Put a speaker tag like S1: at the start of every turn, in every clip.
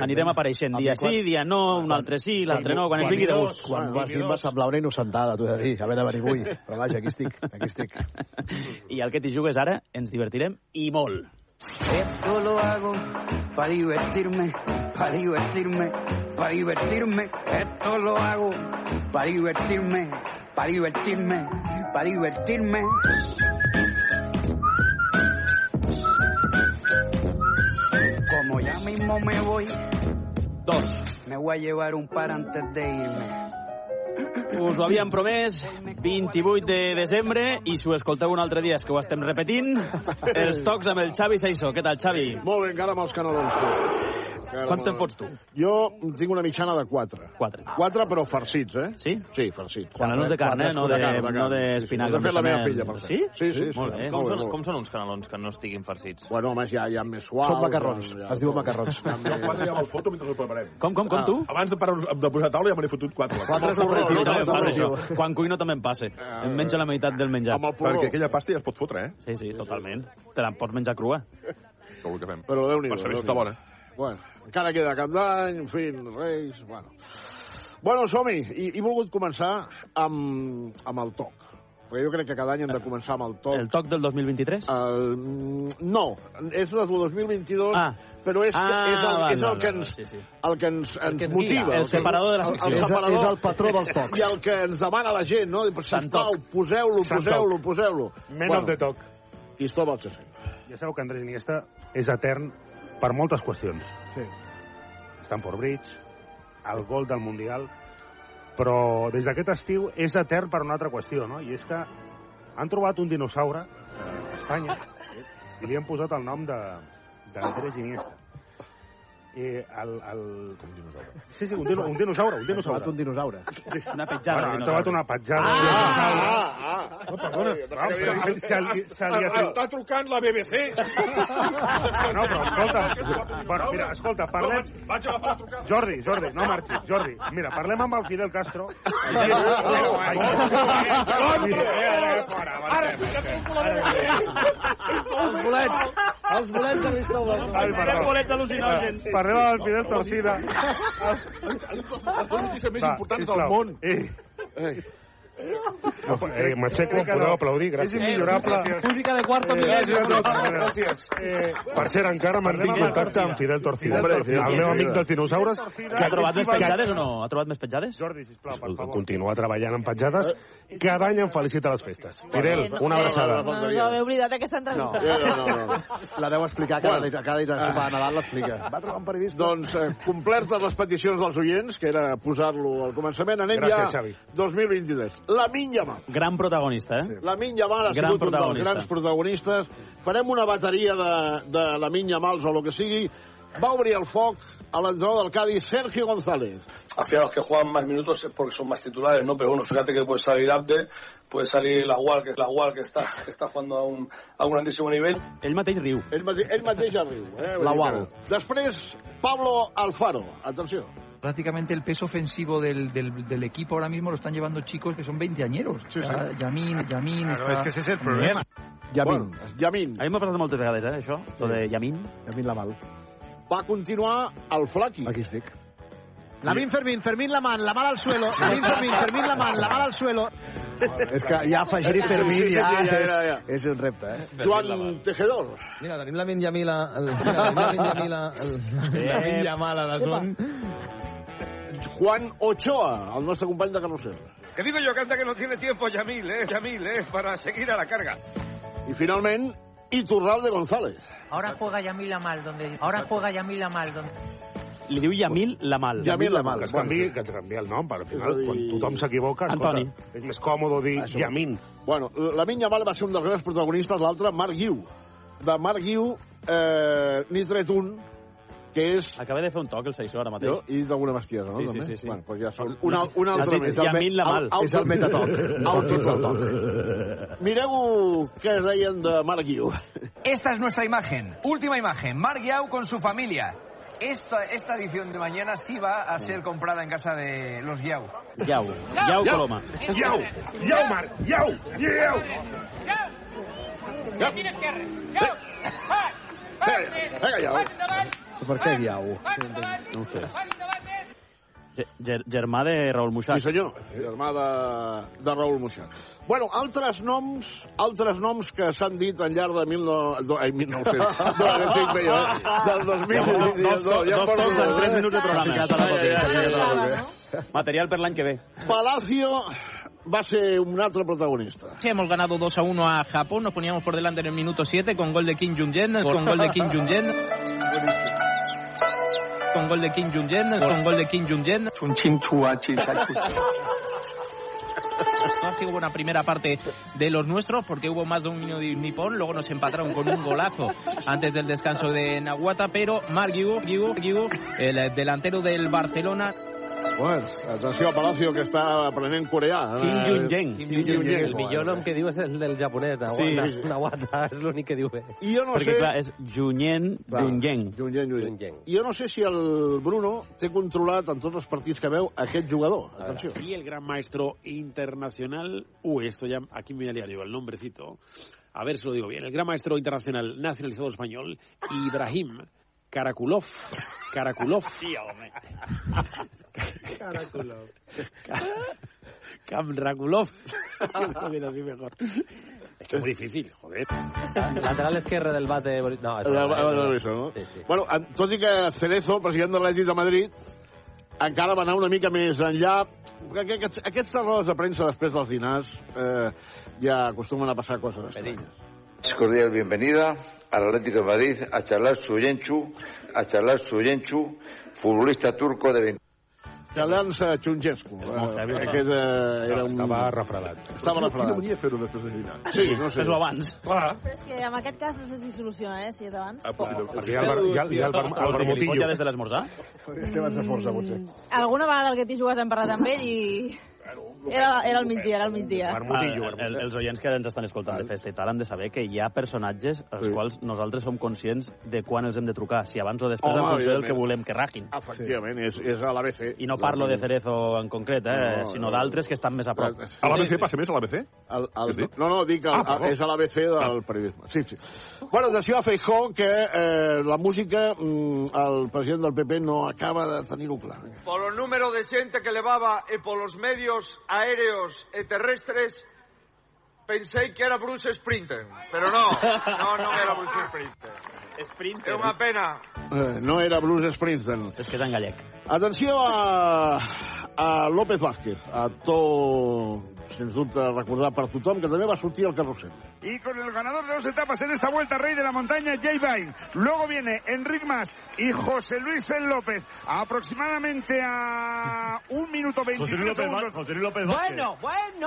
S1: anirem apareixent dia
S2: quan-
S1: sí, dia no, un altre sí, l'altre no, quan doncs, ens vingui de gust.
S2: Quan vas dir em va semblar una innocentada, t'ho he de dir, haver de venir avui. Però vaja, aquí estic, aquí estic.
S1: I el que t'hi jugues ara, ens divertirem i molt.
S3: Esto lo hago para divertirme, para divertirme, para divertirme. Esto lo hago para divertirme, para divertirme, para divertirme. Como ya mismo me voy,
S1: Dos.
S3: me voy a llevar un par antes de irme.
S1: Us ho havíem promès 28 de desembre i si ho escolteu un altre dia és que ho estem repetint els tocs amb el Xavi Saissó. Què tal, Xavi?
S4: Molt bé, encara amb els canelons. tu. Encara
S1: Quants
S4: amb
S1: te'n
S4: els-
S1: fots tu?
S4: Jo tinc una mitjana de 4.
S1: Quatre.
S4: 4, però farcits, eh?
S1: Sí?
S4: Sí, farcits.
S1: Canelons de carn, eh? No de, no d'espinacs.
S4: Ho ha fet la meva
S1: amb
S4: filla, per
S1: bechamel.
S4: cert.
S1: Sí?
S4: Sí, sí, sí,
S1: Molt bé.
S4: com-
S5: Com,
S4: eh? molt.
S5: són, com són uns canelons que no estiguin farcits?
S4: Bueno, home, ja, ja més suaus.
S2: Són macarrons,
S4: ja-
S2: es diuen macarrons.
S4: Ja,
S6: Jo quatre
S4: ja,
S6: ja me'ls foto mentre ho preparem.
S1: Com, com, com, tu?
S6: Abans de, parar, de posar a taula ja me n'he fotut quatre.
S2: Quatre és
S6: Ah, Amb el porró,
S2: l'aperitiu,
S1: I també
S2: no,
S1: em
S2: no,
S1: passa
S2: no,
S1: això.
S2: no.
S1: Quan cuino també em passa. Em menjo la meitat del menjar.
S4: amb el porró.
S6: Perquè aquella pasta ja es pot fotre, eh?
S1: Sí, sí, totalment. Te la pots menjar crua.
S6: Tot el que fem.
S4: Però déu nhi
S6: Per saber si està bona.
S4: Bueno, encara queda cap d'any, en fi, reis, bueno. Bueno, som-hi. I, he volgut començar amb, amb el toc. Perquè jo crec que cada any hem de començar amb el toc.
S1: Eh, El toc del
S4: Ah,
S1: 2023?
S4: El... No, és del 2022,
S1: Ah.
S4: però és,
S1: Ah,
S4: és, el,
S1: val,
S4: és el
S1: val,
S4: que
S1: val,
S4: ens,
S1: sí, sí.
S4: el que ens, ens
S1: que ens guia,
S4: motiva.
S1: el
S4: que-
S1: separador de la secció.
S4: El,
S1: És
S4: el
S1: el-
S4: separador.
S2: és el patró dels tocs.
S4: I el que ens demana la gent, no? Diu, Sisplau, poseu-lo, poseu-lo, poseu-lo.
S7: Men of the talk.
S4: Cristóbal Cesar.
S7: Ja sabeu que Andrés Iniesta és etern per moltes qüestions.
S2: Sí.
S7: Stamford Bridge, el gol del Mundial, però des d'aquest estiu és etern per una altra qüestió, no? I és que han trobat un dinosaure a Espanya eh? i li han posat el nom de d'Andrés Iniesta. Eh, el, el... Un dinosaure. Sí, sí, un, dino, un dinosaure, un
S2: Hem trobat
S7: dinosaure.
S2: un dinosaure.
S1: Una
S7: Bueno,
S1: petjada.
S7: han
S1: de
S7: trobat
S1: dinosaure.
S7: una petjada. Ah!
S4: Ah,
S7: Ah,
S1: Oh,
S4: ah,
S7: Perdona, vamos, se, se, li, se li atriu...
S6: trucant la BBC.
S7: Ah, No, però escolta, bueno, mira, escolta, parlem...
S6: Vaig agafar la trucada.
S7: Jordi, Jordi, no marxis, Jordi. Mira, parlem amb el Fidel Castro.
S2: Els bolets! Els bolets de Cristóbal.
S7: Ai, perdó.
S1: bolets al·lucinògens.
S7: Parlem amb el Fidel Torcida.
S6: Les dues notícies més importants del món.
S7: Eh,
S4: Ei,
S7: eh m'aixeco, podeu aplaudir, gràcies. És immillorable.
S1: Música de quarto milès.
S7: Eh, per cert, encara mantinc contacte amb Fidel Torcida,
S4: Hombre, Fidel
S7: el
S4: Torcida.
S7: meu amic dels dinosaures,
S1: Que ha trobat més
S7: que-
S1: petjades o no? Ha trobat més petjades?
S7: Jordi, sisplau, per favor. Continua treballant en petjades. Cada any em felicita les festes. Fidel, una
S4: abraçada.
S8: No, no, no, he oblidat aquesta entrevista.
S4: No, no, no. no.
S2: La deu explicar cada, bueno. cada dia que va a Nadal l'explica. Va trobar un periodista.
S4: Doncs eh, complertes les peticions dels oients, que era posar-lo al començament, anem
S7: Gràcies,
S4: ja
S7: Xavi.
S4: 2023. La minya mà.
S1: Gran protagonista, eh?
S4: La Minya Mal ha
S1: Gran
S4: sigut un dels
S1: protagonista.
S4: grans protagonistes. Farem una bateria de, de la Minya Mals o el que sigui. Va obrir el foc a l'entrenador del Cádiz, Sergio González.
S9: al final los que juegan más minutos es porque son más titulares, ¿no? Pero bueno, fíjate que puede salir Abde, puede salir Laguar, que es Laguar que está, que está jugando a un, a un grandísimo nivel.
S1: Ell mateix riu.
S4: Ell, mate ell mateix ja riu. Eh? Vull dir
S2: La Gual.
S4: que- Després, Pablo Alfaro. Atenció.
S10: prácticamente el peso ofensivo del, del, del equipo ahora mismo lo están llevando chicos que son veinteañeros.
S4: Sí, sí.
S10: Ya- Yamin, Yamin está...
S7: ese es el
S1: problema.
S2: Yamin.
S4: Bueno, Yamin.
S1: A mi m'ha passat moltes vegades, eh, això, això de Yamin.
S2: Yamin Lamal.
S4: Va continuar el Flaqui.
S2: Aquí estic.
S3: Lamin Fermín, Fermín la man, la mano al suelo. Lamin Fermín, Fermín la man, la mano al suelo.
S2: És que ja afegir
S4: Sí, sí,
S2: Fermín
S4: sí, sí,
S2: ja,
S4: ja,
S2: és,
S4: ja, ja.
S2: és un repte, eh?
S4: Joan Tejedor.
S10: Mira, tenim la Minja Mila... El, mira, tenim la Minja Mila... El,
S1: la
S11: Eh,
S1: Minja
S10: Mala de Son.
S4: Juan Ochoa, el nostre company de carrusel.
S5: Que digo yo que anda que no tiene tiempo Yamil, eh, Yamil, eh, para seguir a la carga.
S4: I finalment, Iturralde González.
S10: Ahora juega Yamila mal, donde... Ahora juega Yamila mal, donde...
S1: Li diu Yamil la mal.
S4: Yamin Lamal.
S7: Que es canvi, que es canvi el nom, però al
S4: És a
S7: final,
S4: dir-
S7: quan tothom s'equivoca, escolta,
S1: Antoni.
S7: és més còmode dir
S4: Això.
S7: Yamin.
S4: Bueno, la Minya Mal va ser un dels grans protagonistes, l'altre, Marc Guiu. De Marc Guiu, eh, n'he tret un, que és...
S1: Acaba de fer un toc el Saissó ara mateix.
S4: Jo he dit alguna bestiesa, no?
S1: Sí, sí,
S4: també?
S1: sí, sí.
S4: Bueno, doncs ja són un, al- un
S1: Has
S4: altre
S1: dit
S4: més.
S1: Yamin Lamal.
S4: Au-
S2: És el metatoc.
S4: Autotoc. Mireu què deien de Marc Guiu.
S10: Esta es nuestra imagen, última imagen, Marc Yao con su familia. Esta, esta edición de mañana sí va a ser comprada en casa de los Yao.
S1: Iau. Iau Coloma.
S7: Iau! Iau, Marc! Iau! Iau!
S4: Vinga, ja.
S12: Per què diau?
S1: No ho sé. Ge- ger- Germà de Raül Muixac.
S4: Sí, senyor. Germà de, de Raül Muixac. Bueno, altres noms, altres noms que s'han dit al llarg de mil no, do, ai, 1900. No, no estic bé, jo. Del 2000.
S1: Ja porto
S4: sí, sí,
S1: dos,
S4: no, ja
S1: dos
S4: porto-
S1: tocs en tres minuts de programa.
S4: Ai, ai, ai,
S1: Ja
S4: ai,
S1: no
S4: ai, ai.
S1: Material per l'any que ve.
S4: Palacio va ser un altre protagonista.
S11: Sí, hemos ganado 2 a 1 a Japón. Nos poníamos por delante en el minuto 7 con gol de Kim Jong-un, con gol de Kim Jong-un. Con gol de Kim Jong-un, con gol de Kim Jong-un.
S13: Un chinchua, chinchachu.
S11: No ha sido buena primera parte de los nuestros porque hubo más dominio de Nippon. Luego nos empataron con un golazo antes del descanso de Nahuata. Pero Marc Guigo, Guigo, Guigo, el delantero del Barcelona,
S4: Bueno, atenció a Palacio, que està aprenent coreà. Eh,
S11: Kim Jong-un.
S4: Kim Jong-un.
S14: El millor nom que diu és el del japonès,
S4: Sí,
S14: Nawata.
S4: sí,
S14: Sí,
S4: sí.
S14: Nawata és l'únic que diu bé.
S4: I jo no
S1: Perquè,
S4: sé...
S1: clar, és Junyen Dunyen.
S4: Junyen, Junyen. Jo no sé si el Bruno té controlat en tots els partits que veu aquest jugador. Atenció.
S6: Y el gran maestro internacional, uy, esto ya aquí me liaría el nombrecito, a ver si lo digo bien, el gran maestro internacional nacionalizado español, Ibrahim Karakulov. Karakulov.
S14: Caracoló.
S6: Kamrakulov. Esto viene así mejor. Es que es muy difícil, joder.
S14: Lateral esquerre del bate... Bori- No, és
S4: El- el- el- el-
S1: eh?
S14: Bori-
S4: el- no?
S14: Sí, sí.
S4: Bueno, en- tot i que Cerezo, president de l'Atlètic de Madrid, encara va anar una mica més enllà. Aqu- Aquests, aquestes rodes de premsa després dels dinars eh, ja acostumen a passar coses estranyes.
S15: Es cordial bienvenida al Atlético de Madrid a charlar su Yenchu, a charlar su Yenchu, futbolista turco de 20.
S4: Xalans a Xungescu. Eh, Aquest eh, era un... Estava refredat. Estava
S6: Qui no
S4: refredat.
S6: venia a fer-ho després de dinar?
S4: Sí, no sé.
S6: Fes-ho
S1: abans.
S6: Clar.
S16: Però és que en aquest cas no sé si soluciona, eh, si és abans.
S14: Ah,
S7: Perquè hi ha el, bar, hi ha, hi ha el, bar,
S6: Ah,
S7: el vermutillo. Mm.
S1: Ja des de l'esmorzar?
S12: Estem abans d'esmorzar, potser.
S14: pues-
S16: Alguna vegada el que t'hi jugues hem parlat amb ell i... Era, era el migdia, era el migdia.
S1: Ah, el- el- els oients que ens estan escoltant de festa i tal han de saber que hi ha personatges als quals nosaltres som conscients de quan els hem de trucar, si abans o després,
S4: Home,
S1: en funció del
S4: evidentment.
S1: que volem que ragin.
S4: Efectivament, és, és a l'ABC.
S1: I no parlo de Cerezo en concret, eh,
S4: No, no,
S1: sinó
S4: no.
S1: d'altres que estan més a prop.
S4: A la
S6: Què passa més a l'ABC?
S4: El,
S6: Has
S4: el,
S6: dit?
S4: no, no, dic, el,
S6: Ah, perdó. Ah.
S4: el, és a l'ABC del periodisme. Sí, sí. Bueno, atenció a Feijó, que eh, la música, mm, el president del PP no acaba de tenir-ho clar.
S17: Por o número de xente que levaba e polos medios aéreos e terrestres, pensei que era Bruce Sprinten, pero no, no, non era Bruce Sprinten.
S1: Sprinten.
S17: É unha pena.
S4: Eh, no era Bruce Springsteen.
S1: És que és en gallec.
S4: Atenció a, a López Vázquez, actor, sens dubte, recordat per tothom, que també va sortir al carrusel.
S9: Y con el ganador de dos etapas en esta vuelta, Rey de la Montaña, Jay Vine. Luego viene Enric Mas y José Luis Fel López. Aproximadamente a un minuto veintitrés
S18: López
S9: segundos.
S18: Va- José Luis López Vázquez. Bueno,
S9: bueno.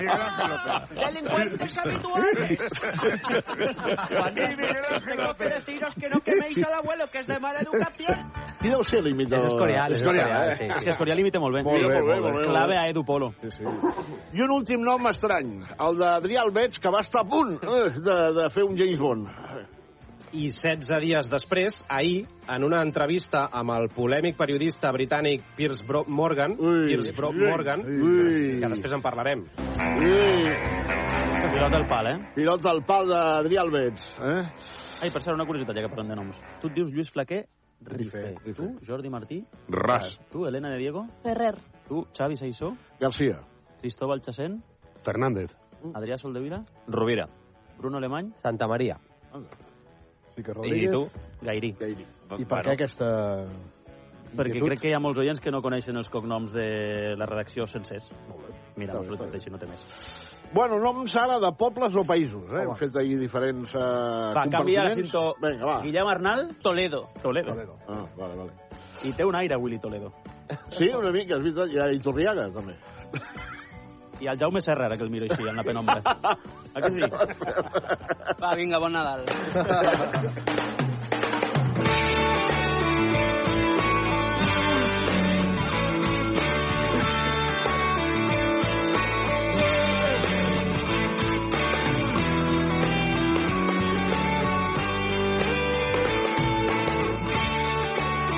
S18: Miguel Ángel López.
S9: Delincuentes
S18: Pero deciros que no queméis al abuelo, que es de mala educación.
S4: Qui deu ser l'imitador?
S1: És Escorial, és Escorial,
S4: eh?
S1: sí. És que Escorial imita molt bé.
S4: Molt bé,
S1: Mira,
S4: molt bé, molt bé.
S1: Clave a Edu Polo.
S4: Sí, sí. I un últim nom estrany, el d'Adrià Albeig, que va estar a punt eh, de, de fer un James Bond.
S14: I 16 dies després, ahir, en una entrevista amb el polèmic periodista britànic Piers Bro Morgan, Piers Bro
S4: ui,
S14: Morgan, que després en parlarem.
S1: Pilota al pal, eh?
S4: Pilota al pal d'Adrià Albeig, eh?
S1: Ai, per cert, una curiositat, ja que parlem de noms. Tu et dius Lluís Flaquer Rifé. Tu, Jordi Martí.
S7: Ras.
S1: Tu, Elena de Diego.
S16: Ferrer.
S1: Tu, Xavi Saissó.
S4: García.
S1: Cristóbal Chasén.
S7: Fernández.
S4: Mm.
S1: Adrià Soldevila. Rovira. Bruno Alemany.
S14: Santa Maria.
S12: Sí que
S1: I
S12: Rodríguez.
S1: tu, Gairí.
S4: Gairí.
S12: I per què aquesta...
S1: Perquè
S12: inquietud?
S1: crec que hi ha molts oients que no coneixen els cognoms de la redacció sencers. Mira, us ho llegeixo, no té més.
S4: Bueno, noms ara de pobles o països, eh? Hem fet ahir diferents eh,
S1: Va, canvia la
S4: compartiments.
S1: cinto.
S4: Vinga, va.
S1: Guillem Arnal, Toledo. Toledo.
S4: Ah, vale, vale.
S1: I té un aire, Willy Toledo.
S4: Sí, una mica, és veritat. I a Iturriaga, també.
S1: I el Jaume Serra, ara que el miro així, en la penombra. A que sí?
S19: Va, vinga, bon Nadal.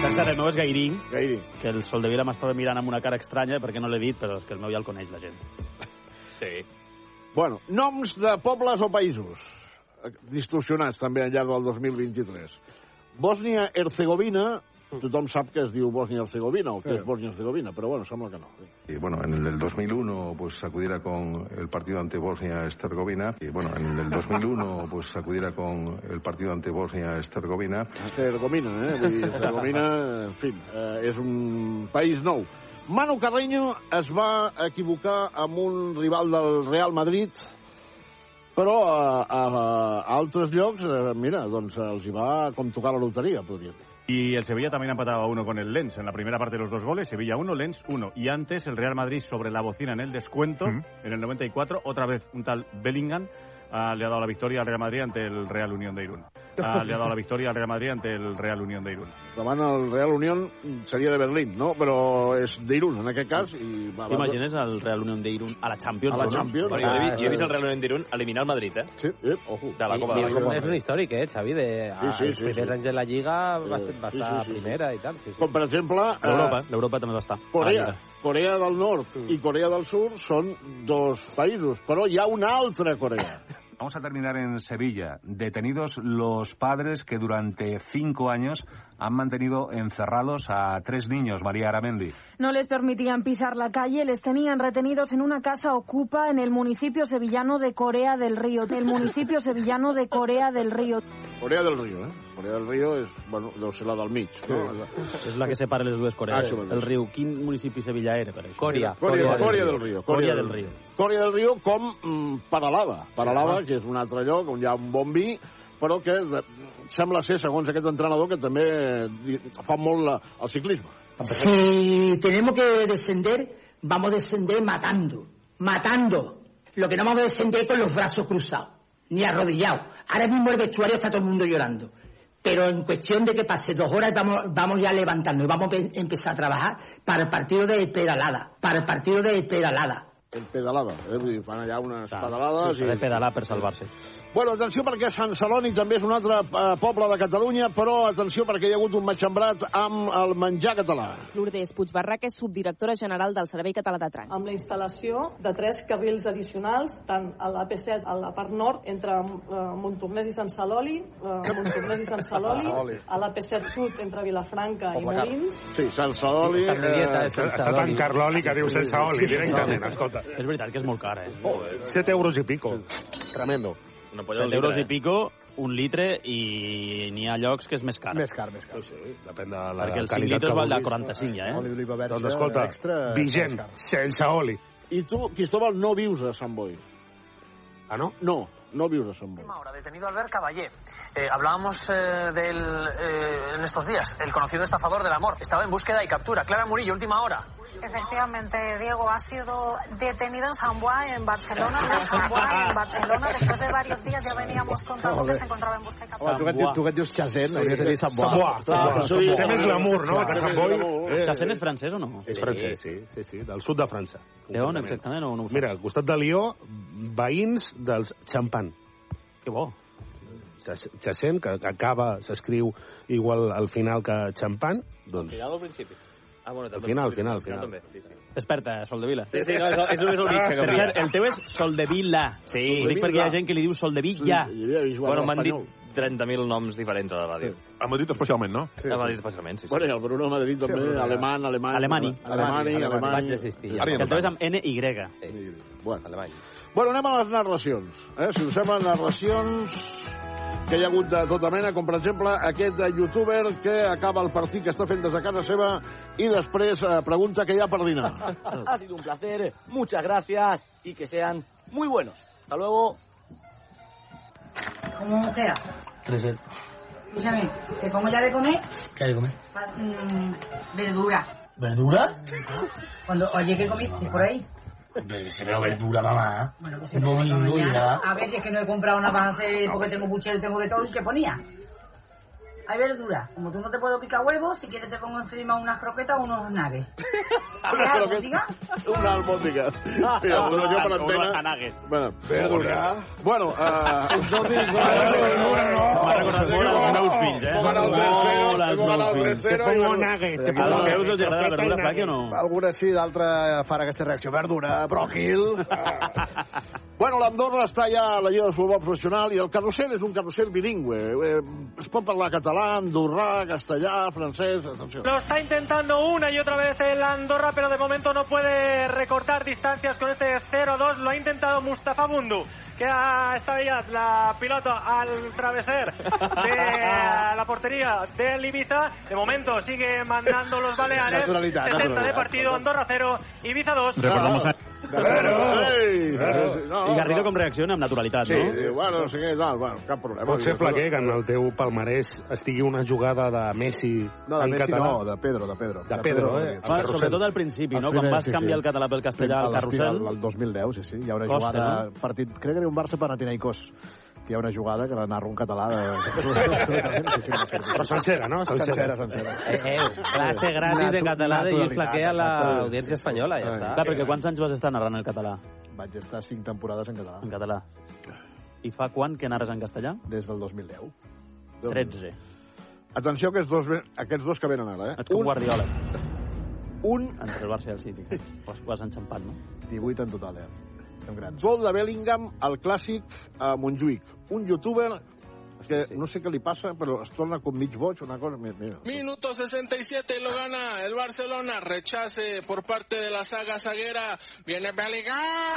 S1: Per cert, el meu és Gairí,
S4: Gairí.
S1: que el Soldevila m'estava mirant amb una cara estranya perquè no l'he dit, però és que el meu ja el coneix la gent. Sí.
S4: Bueno, noms de pobles o països. Eh, Distorsionats, també, al llarg del 2023. Bòsnia-Herzegovina,
S1: Mm.
S4: tothom sap que es diu Bòsnia-Herzegovina o que
S17: Sí.
S4: és Bòsnia-Herzegovina, pero bueno, sembla que no.
S17: Y bueno, en el del 2001 pues acudiera con el partido ante Bosnia-Herzegovina. Y bueno, en el del 2001 pues acudiera con el partido ante Bosnia-Herzegovina.
S4: Herzegovina, eh? Vull dir, Herzegovina, en fi, eh, és un país nou. Manu Carreño es va equivocar amb un rival del Real Madrid, però a, a, a altres llocs, eh, mira, doncs els hi va com tocar la loteria, podríem dir.
S20: Y el Sevilla también ha empatado a uno con el Lens. En la primera parte de los dos goles, Sevilla 1, Lens 1. Y antes, el Real Madrid sobre la bocina en el descuento, en el 94. Otra vez un tal Bellingham ah, le ha dado la victoria al Real Madrid ante el Real Unión de Irún. Ah, le ha dado la victoria al Real Madrid ante el Real Unión de Irún.
S4: Davant el Real Unión seria de Berlín, no? Però és d'Irun, en aquest cas. I va, va,
S1: T'imagines el Real Unión de Irún a la Champions? Ah,
S4: A la
S1: no?
S4: Champions.
S6: Bueno, jo, he, vi- jo he vist el Real Unión d'Irun eliminar el Madrid, eh?
S4: Sí, eh, ojo.
S6: De la Copa de la Copa.
S11: És un històric, eh, Xavi? De,
S6: Sí,
S11: sí,
S6: sí,
S11: sí, els
S6: sí,
S11: primers
S6: sí.
S11: anys de la Lliga va,
S4: Sí,
S11: ser, va
S4: sí,
S11: estar
S4: sí, sí,
S11: primera i tal. Sí, sí.
S4: Com per exemple... eh,
S1: L'Europa, l'Europa també va estar.
S4: Corea, Corea del Nord i Corea del Sur són dos països, però hi ha una altra Corea.
S21: Vamos a terminar en Sevilla. Detenidos los padres que durante cinco años han mantenido encerrados a tres niños, María Aramendi.
S22: No les permitían pisar la calle, les tenían retenidos en una casa ocupa en el municipio sevillano de Corea del Río. El municipio sevillano de Corea del Río.
S4: Corea del Río, eh? Corea del Río és, bueno, deu ser la del mig, no?
S1: És la que separa les dues
S4: Ah,
S1: Corees.
S4: això mateix.
S1: el riu, quin municipi sevillà era? Per això?
S4: Corea. Corea, Corea del Río.
S1: Corea del Río.
S4: Corea del Río com mm, Paralava. Paralava, que és un altre lloc on hi ha un bon vi, però que de, sembla ser, segons aquest entrenador, que també li- fa molt la, el ciclisme.
S16: Si tenemos que descender, vamos a descender matando, matando. Lo que no vamos a descender con los brazos cruzados, ni arrodillados. Ahora mismo el vestuario está todo el mundo llorando. Pero en cuestión de que pase dos horas vamos, vamos ya a levantarnos y vamos a pe- empezar a trabajar para el partido de Peralada, para el partido de Peralada.
S4: El pedalada, eh? Vull dir, fan allà unes pedalades...
S1: S'ha de pedalar per salvar-se.
S4: Bueno, atenció perquè Sant Celoni també és un altre eh, poble de Catalunya, però atenció perquè hi ha hagut un matxembrat amb el menjar català.
S23: Lourdes Puigbarrac és subdirectora general del Servei Català de Trànsit.
S24: amb la instal·lació de tres carrils addicionals, tant a l'AP7 a la part nord, entre eh, Montornès i Sant Celoli, eh, Montornès i Sant Celoli,
S4: Celoli.
S24: a l'AP7 sud entre Vilafranca i
S4: Poblecar.
S24: Molins,
S4: Sí, eh, sense oli...
S7: Està eh, tan carloli que diu sense oli, directament, escolta.
S1: És veritat que és molt car, eh?
S7: 7 euros i pico. Tremendo.
S1: Una
S7: polla al
S1: pues euros
S7: litre,
S1: i pico, un litre, i n'hi ha llocs que és més car. Més
S25: car, més car.
S1: Sí,
S7: depèn de
S1: la Perquè el 5 litres val de 45, ja, eh?
S7: Doncs escolta, vigent, sense oli.
S4: I tu, Cristóbal, no vius a Sant Boi.
S7: Ah, no?
S4: No, no vius a Sant Boi.
S26: Ahora, detenido Albert Caballé. Eh, hablábamos eh, del, eh, en estos días, el conocido estafador del amor. Estaba en búsqueda y captura. Clara Murillo, última hora.
S27: Efectivamente, Diego ha sido detenido en San Juan, en Barcelona. En San Juan, en Barcelona, después de varios días ya veníamos contando que se encontraba en busca de
S25: Home, tu, que et dius, tu que et dius Chazet, no? Hauries de dir Sant Boa.
S7: Sant Boa. Té més glamour, no?
S1: Clar,
S7: Que Sant Boi.
S1: eh, Chassagne és francès o no?
S7: És francès, sí, sí, sí, del sud de França.
S1: De on exactament? O no ho saps?
S7: Mira, al costat de Lió, veïns dels Champan.
S1: Que bo.
S7: Chassent, que acaba, s'escriu igual al final que Champan, doncs
S6: Final o principi? Ah, bueno,
S7: Al final, al final, al final.
S6: també. Sí, sí.
S1: Desperta, Sol de Vila.
S6: Sí, sí, no, és- és només el mig
S4: Ah,
S6: que
S1: Per
S6: canvia.
S1: cert, el teu és Sol de Vila. Sí. Ho dic perquè hi ha gent que li diu Sol de Vila.
S6: Bueno, m'han dit 30.000 noms diferents a la ràdio.
S17: A Madrid especialment, no?
S6: Sí, a Madrid especialment, sí. sí.
S4: Bueno, i el Bruno a Madrid també,
S6: Sí,
S4: sí,
S6: Bruno.
S4: alemany, alemany...
S6: Alemany.
S4: Alemany,
S6: Alemany,
S4: alemany.
S6: vaig desistir, ja. Ara ja no
S4: El teu és
S1: amb N, Y.
S4: Sí. Bueno. Alemany. Bueno, anem a les narracions. Eh? Si us sembla, narracions que hi ha hagut de tota mena, com per exemple aquest eh, youtuber que acaba el partit que està fent des de casa seva i després eh, pregunta què hi ha per dinar.
S28: Ha sido un placer, muchas gracias y que sean muy buenos. Hasta luego.
S18: ¿Cómo queda? Escúchame, te pongo ya de comer
S16: ¿Qué hay que comer?
S18: pa- mm, verdura.
S16: ¿Verdura?
S18: Cuando, oye, ¿qué comiste por ahí?
S16: Se veo verdura, mamá. Bueno,
S18: pues se me
S16: no,
S18: Mañana, a ver si es que no he comprado una para hacer porque tengo puchero, tengo de todo y que ponía. Hay verdura. Como tú no te puedo picar huevos, si quieres te pongo encima unas croquetas o unos nuggets.
S4: Una
S18: albóndiga?
S4: Una albòndiga. Mira,
S18: Ah,
S4: Bruno, jo per
S18: ah,
S4: antena...
S18: una nugget.
S4: Bueno,
S18: Verdura.
S4: Bueno, eh...
S1: M'ha recordat molt els meus fills, eh? Molt els meus fills. Als meus els agrada la verdura, Flaqui, o no?
S25: Alguna sí, d'altra farà aquesta reacció. Verdura, bròquil...
S4: Bueno, l'Andorra està ja a la Lliga de Futbol Professional i el carrusel és un carrusel bilingüe. Eh, es pot parlar català, andorrà, castellà, francès... Atenció.
S3: Lo está intentando una y otra vez el Andorra, pero de momento no puede recortar distancias con este 0-2. Lo ha intentado Mustafa Bundu, que ha estado ya la pilota al traveser de la portería del Ibiza. De momento sigue mandando los baleares.
S4: Naturalidad,
S3: 70 de
S4: naturalidad.
S3: partido, Andorra 0, Ibiza 2.
S1: Recordamos a...
S4: Ei,
S1: I Garrido com reacciona amb naturalitat,
S7: Sí,
S1: no?
S7: diu,
S4: bueno, no sé què, tal, bueno, cap problema.
S7: Eh, Pot ser flaquer que en el teu palmarès estigui una jugada de Messi
S2: No, de
S7: en
S2: Messi
S7: català.
S2: no, de Pedro, de Pedro.
S7: De Pedro, eh?
S2: Rodríguez.
S7: Home,
S1: sobretot al principi, no?
S2: Els
S1: Quan vas canviar el català pel castellà al
S2: A l'estiu,
S1: carrusel.
S2: El, el 2010, sí, sí. Hi ha una
S1: Costa,
S2: jugada...
S1: no?
S2: Partit, crec que era un Barça Panathinaikos. Hi ha una jugada que la narra un català de... Sí, sí, sí.
S7: Però sencera, no?
S2: Sencera, sencera.
S29: Eh, eh, classe gratis de català de Lluís Flaquer a l'audiència espanyola, ja
S1: Clar,
S29: està.
S1: perquè quants anys vas estar narrant el català?
S2: Vaig estar cinc temporades en català.
S1: En català. I fa quan que narres en castellà?
S2: Des del 2010.
S1: 13.
S4: Atenció que dos, ve- aquests dos que venen ara, eh?
S1: Ets com Guardiola.
S4: Un...
S1: Entre el Barça i el City. Vas, vas enxampat, no?
S2: 18 en total, eh? Som grans.
S4: Gol de Bellingham al clàssic a Montjuïc. Un youtuber que no sé què li passa, però es torna com mig boig, una cosa... Mira, mira.
S5: Minuto 67 lo gana el Barcelona. Rechace por parte de la saga zaguera. Viene Bellingham.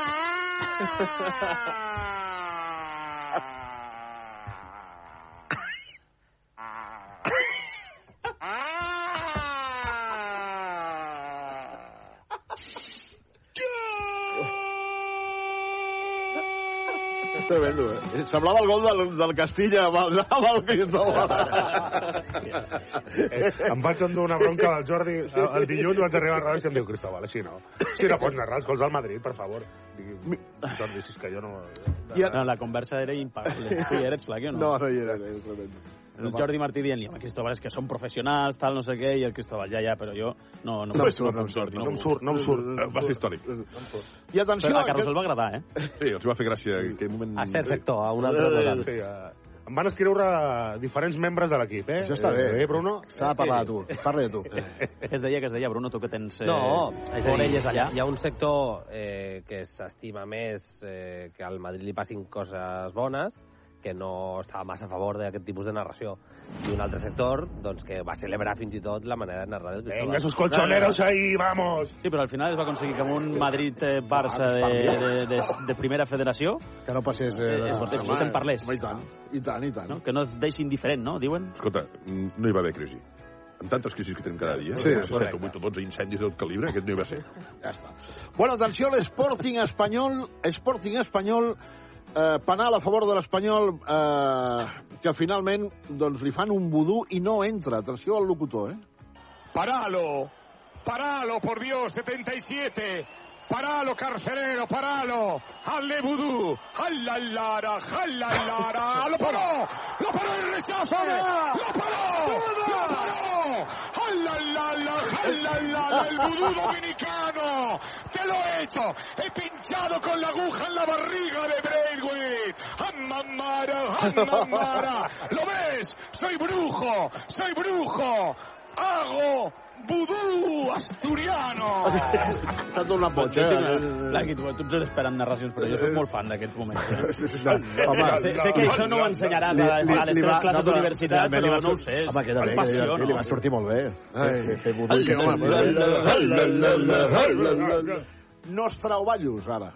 S4: És tremendo, eh? Semblava el gol del, del Castilla amb el, amb el Cristóbal.
S7: Eh, em vaig endur una bronca del Jordi el, el dilluns, vaig arribar a la redacció i em diu, Cristóbal, així no. Si no pots narrar els gols del Madrid, per favor. Dic, Jordi, si és que jo no...
S1: I ara... No, la conversa era impagable. Tu hi eres, Flaque, o no?
S4: No, no hi era, és tremendo.
S1: El Jordi Martí dient-li, home, Cristóbal, és que són professionals, tal, no sé què, i el Cristóbal, ja, ja, però jo no, no,
S4: No
S1: puc,
S4: em surt,
S1: no,
S4: no em
S1: puc, Jordi,
S4: surt, no em
S1: puc.
S4: surt, no em surt.
S6: Va ser històric.
S4: I atenció...
S1: Però a
S4: aquest-
S1: Carrusel va agradar, eh?
S6: Sí, els va fer gràcia en aquell
S4: Mm.
S6: moment...
S1: A Ah, cert sector, a
S6: un altre total.
S7: Eh, Sí, eh, em van escriure diferents membres de l'equip, eh?
S2: Això està bé.
S7: Eh, Bruno?
S2: S'ha de parlar de tu. Parla de tu.
S1: Que es deia, que es deia, Bruno, tu que tens eh,
S29: No, és a dir,
S1: orelles
S29: hi ha,
S1: allà.
S29: hi ha un sector eh, que s'estima més eh, que al Madrid li passin coses bones, que no estava massa a favor d'aquest tipus de narració. I un altre sector, doncs, que va celebrar fins i tot la manera de narrar del Cristóbal.
S7: Venga, esos colchoneros ahí, vamos!
S1: Sí, però al final es va aconseguir que amb un Madrid-Barça
S4: Ah,
S1: de,
S4: espavila.
S1: de, de, de primera federació...
S2: Que no passés... Eh,
S1: es, es, es, se'n parlés.
S4: Home, I tant, i tant, i tant.
S1: No? Que no es deixi indiferent, no? Diuen.
S6: Escolta, mm, no hi va haver crisi. Amb tantes crisis que tenim cada dia,
S4: Sí,
S6: sí, no sé,
S4: correcte.
S6: 7 o 8 o 12 incendis del calibre, aquest no hi va ser.
S4: Ja està. Bueno, atenció, l'Sporting Espanyol, Sporting Espanyol, eh, penal a favor de l'Espanyol, eh, que finalment doncs, li fan un vudú i no entra. Atenció al locutor, eh?
S9: Paralo, paralo, por Dios, 77. Paralo, carcelero, paralo. Alle vudú, alla lara, alla lara. Lo paró, lo paró el rechazo. Lo paró, lo paró. Alla lara, alla lara, el vudú dominicano. Te lo he hecho. He pinchado con la aguja en la barriga de Braithwaite. Amamara, amamara. ¿Lo ves? Soy brujo, soy brujo. Hago vudú asturiano.
S4: S'ha tornat boig,
S1: Jo
S4: eh?
S1: tinc una- Clar, aquí tu, tu ens has esperat narracions, però jo sóc molt fan d'aquests moments. Eh?
S2: Home,
S1: sé, sé que això no ho ensenyaràs a,
S2: Li- li-
S1: a les
S2: li
S1: teves
S2: va-
S1: classes
S2: però-
S1: d'universitat,
S2: realment li
S1: però
S2: va
S1: no ho
S2: sort-
S1: sé.
S2: Home, que
S1: Per
S2: també,
S1: passió,
S2: li, li va
S1: no?
S2: sortir molt bé.
S4: Ai.
S2: Fer- fer vudú.
S4: Ai, que home,
S2: Ai,
S4: Nostrauballos, ara.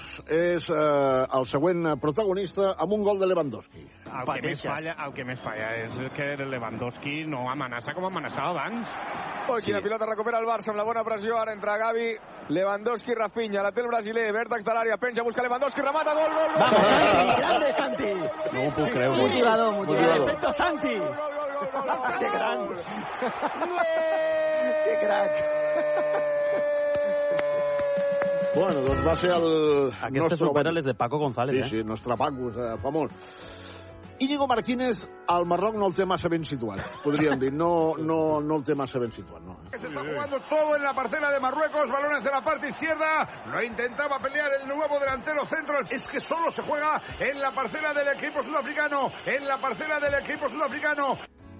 S4: Nostrauballos és eh, el següent protagonista amb un gol de Lewandowski.
S10: El que, més falla, el que més falla és que Lewandowski no amenaça com amenaçava abans.
S17: Gol, qui la pilota recupera el Barça amb la bona pressió, ara entra Gavi, Lewandowski, Rafinha, la té el brasiler, vèrtex de l'àrea, penja, busca Lewandowski, remata, gol, gol, gol!
S30: Vamos,
S17: grande,
S30: Santi, Santi!
S1: No ho puc
S17: creure.
S30: Motivador, motivador.
S17: Efecto
S30: Santi!
S17: ¡Qué gran!
S30: ¡Qué crack!
S4: Bueno, doncs va ser el...
S1: Aquestes superen les de Paco González,
S4: Sí,
S1: eh?
S4: sí, nostre Paco, eh, famós. Íñigo Martínez al Marroc no el té massa ben situat, podríem dir. No, no, no el té massa ben situat, no.
S17: Que se está jugando todo en la parcela de Marruecos, balones de la parte izquierda, lo intentaba pelear el nuevo delantero centro, es que solo se juega en la parcela del equipo sudafricano, en la parcela del equipo sudafricano.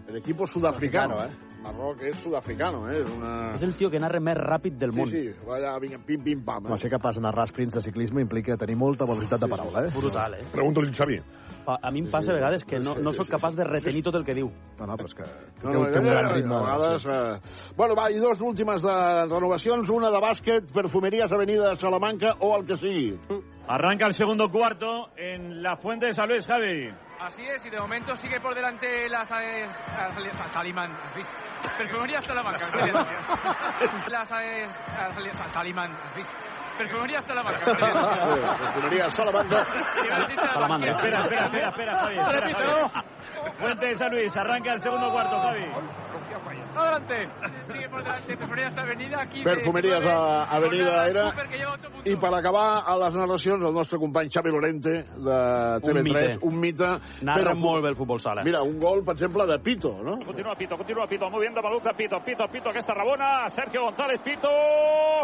S4: El equipo sudafricano, ¿eh? Marroc es sudafricano, ¿eh? Es una...
S1: És el tio que narra més ràpid del món.
S4: Sí, sí, vaya, vinga, pim, pim, pam. eh.
S2: No, ser capaç de narrar sprints de ciclisme implica tenir molta velocitat de paraula, eh?
S1: Brutal, eh?
S6: Pregunta-li, Xavi.
S1: Pa- A mi em passa a vegades que no, no sóc capaç de retenir tot el que diu.
S2: No, no, però és que...
S4: No, no, no, no, a vegades, eh... Bueno, va, i dos últimes de renovacions, una de bàsquet, perfumeries Avenida de Salamanca o el que sigui.
S8: Arranca el segundo cuarto en la Fuente de San Luis, Javi.
S11: Así es, y de momento sigue por delante las Saliman. Perfumería Salamanca. Las Saliman. Perfumería Salamanca.
S4: Perfumería Salamanca.
S8: Salamanca. Espera, espera, espera, espera, Javi. espera,
S11: Repito.
S8: Javi. Fuente de San Luis, arranca el segundo cuarto, Javi.
S11: Adelante. Sigue por delante Perfumerías Avenida. aquí.
S4: Perfumerías a- Avenida era...
S11: Cooper, que lleva ocho puntos.
S4: I per acabar, a les narracions, el nostre company Xavi Lorente, de TV3,
S1: mite.
S4: un mite.
S1: Narra
S4: Però-
S1: molt bé el futbol sala.
S4: Mira, un gol, per exemple, de Pito, no?
S8: Continúa Pito, continúa Pito, moviendo Baluca, Pito, Pito, Pito, que está Rabona, Sergio González, Pito.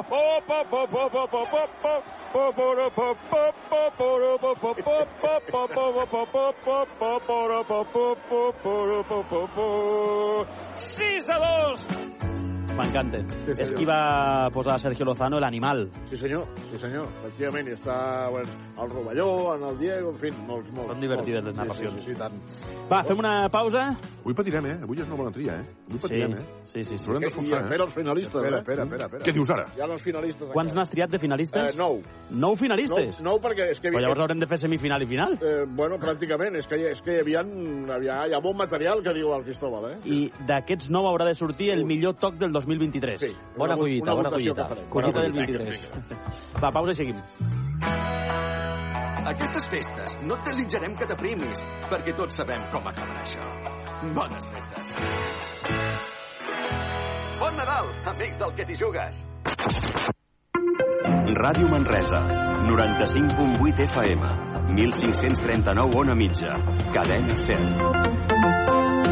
S9: Pop, pop, pop, pop, pop, pop, pop, pop, poro, pop, pop, pop, poro, pop, pop, pop, pop, pop, poro, pop, pop, pop, pop, poro, pop, pop, pop, poro, pop, pop, pop.
S8: 6 a 2.
S1: M'encanta. És qui va posar Sergio Lozano, l'animal.
S4: Sí, senyor, sí, senyor. Efectivament, hi està bueno, el Rovelló, en el Diego, en fi, molts, molts.
S1: Són divertides les
S4: molts.
S1: narracions.
S4: Sí, sí, sí, tant.
S1: Va, fem una pausa.
S6: Avui patirem, eh? Avui és una bona tria, eh? Avui patirem, eh?
S1: Sí, sí, sí.
S6: Haurem
S4: I
S6: d'esforçar,
S4: espera els finalistes,
S6: Espera,
S4: eh?
S6: espera, espera, espera. Què dius ara?
S4: Hi ha els finalistes.
S1: Quants n'has triat de finalistes?
S4: Eh, nou.
S1: Nou finalistes?
S4: No, no, perquè és que...
S1: Però llavors haurem de fer semifinal i final.
S4: Eh, bueno, pràcticament, és que, hi- és que hi havia, havia, hi ha bon material, que diu el Cristóbal, eh?
S1: I d'aquests nou haurà de sortir el millor toc del 2023.
S4: Sí.
S1: Bona
S4: Una-
S1: collita,
S4: una
S1: bona
S4: votació
S1: collita.
S4: que farem.
S1: Collita
S4: Bona
S1: del
S4: collita.
S1: 23. Va, pausa i seguim.
S16: Aquestes festes no et desitjarem que t'aprimis, perquè tots sabem com acabarà això. Bones festes. Bon Nadal, amics del que t'hi jugues.
S11: Ràdio Manresa, 95.8 FM, 1539 ona mitja, cadena 100.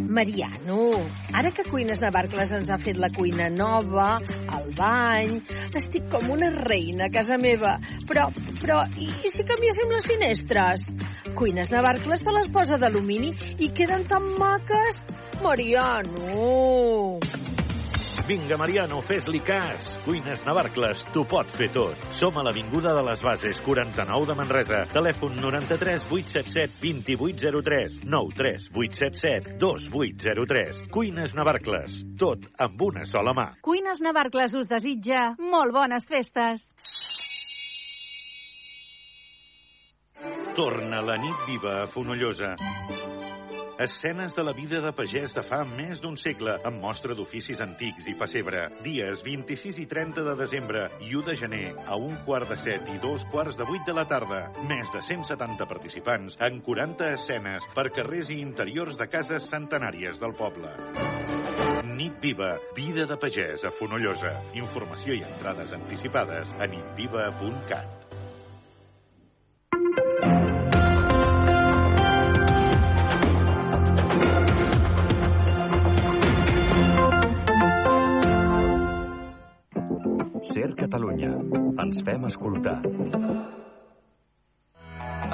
S31: Mariano, ara que Cuines Navarcles ens ha fet la cuina nova, el bany... Estic com una reina a casa meva. Però, però, i, i si canviéssim les finestres? Cuines Navarcles te les posa d'alumini i queden tan maques. Mariano...
S14: Vinga, Mariano, fes-li cas. Cuines Navarcles, t'ho pot fer tot. Som a l'Avinguda de les Bases, 49 de Manresa. Telèfon 93 877 2803 93 877 2803. Cuines Navarcles, tot amb una sola mà.
S16: Cuines Navarcles us desitja molt bones festes.
S14: Torna la nit viva a Fonollosa. Escenes de la vida de pagès de fa més d'un segle, amb mostra d'oficis antics i pessebre. Dies 26 i 30 de desembre i 1 de gener, a un quart de set i dos quarts de vuit de la tarda. Més de 170 participants en 40 escenes per carrers i interiors de cases centenàries del poble. Nit Viva, vida de pagès a Fonollosa. Informació i entrades anticipades a nitviva.cat.
S11: Ser Catalunya. Ens fem escoltar.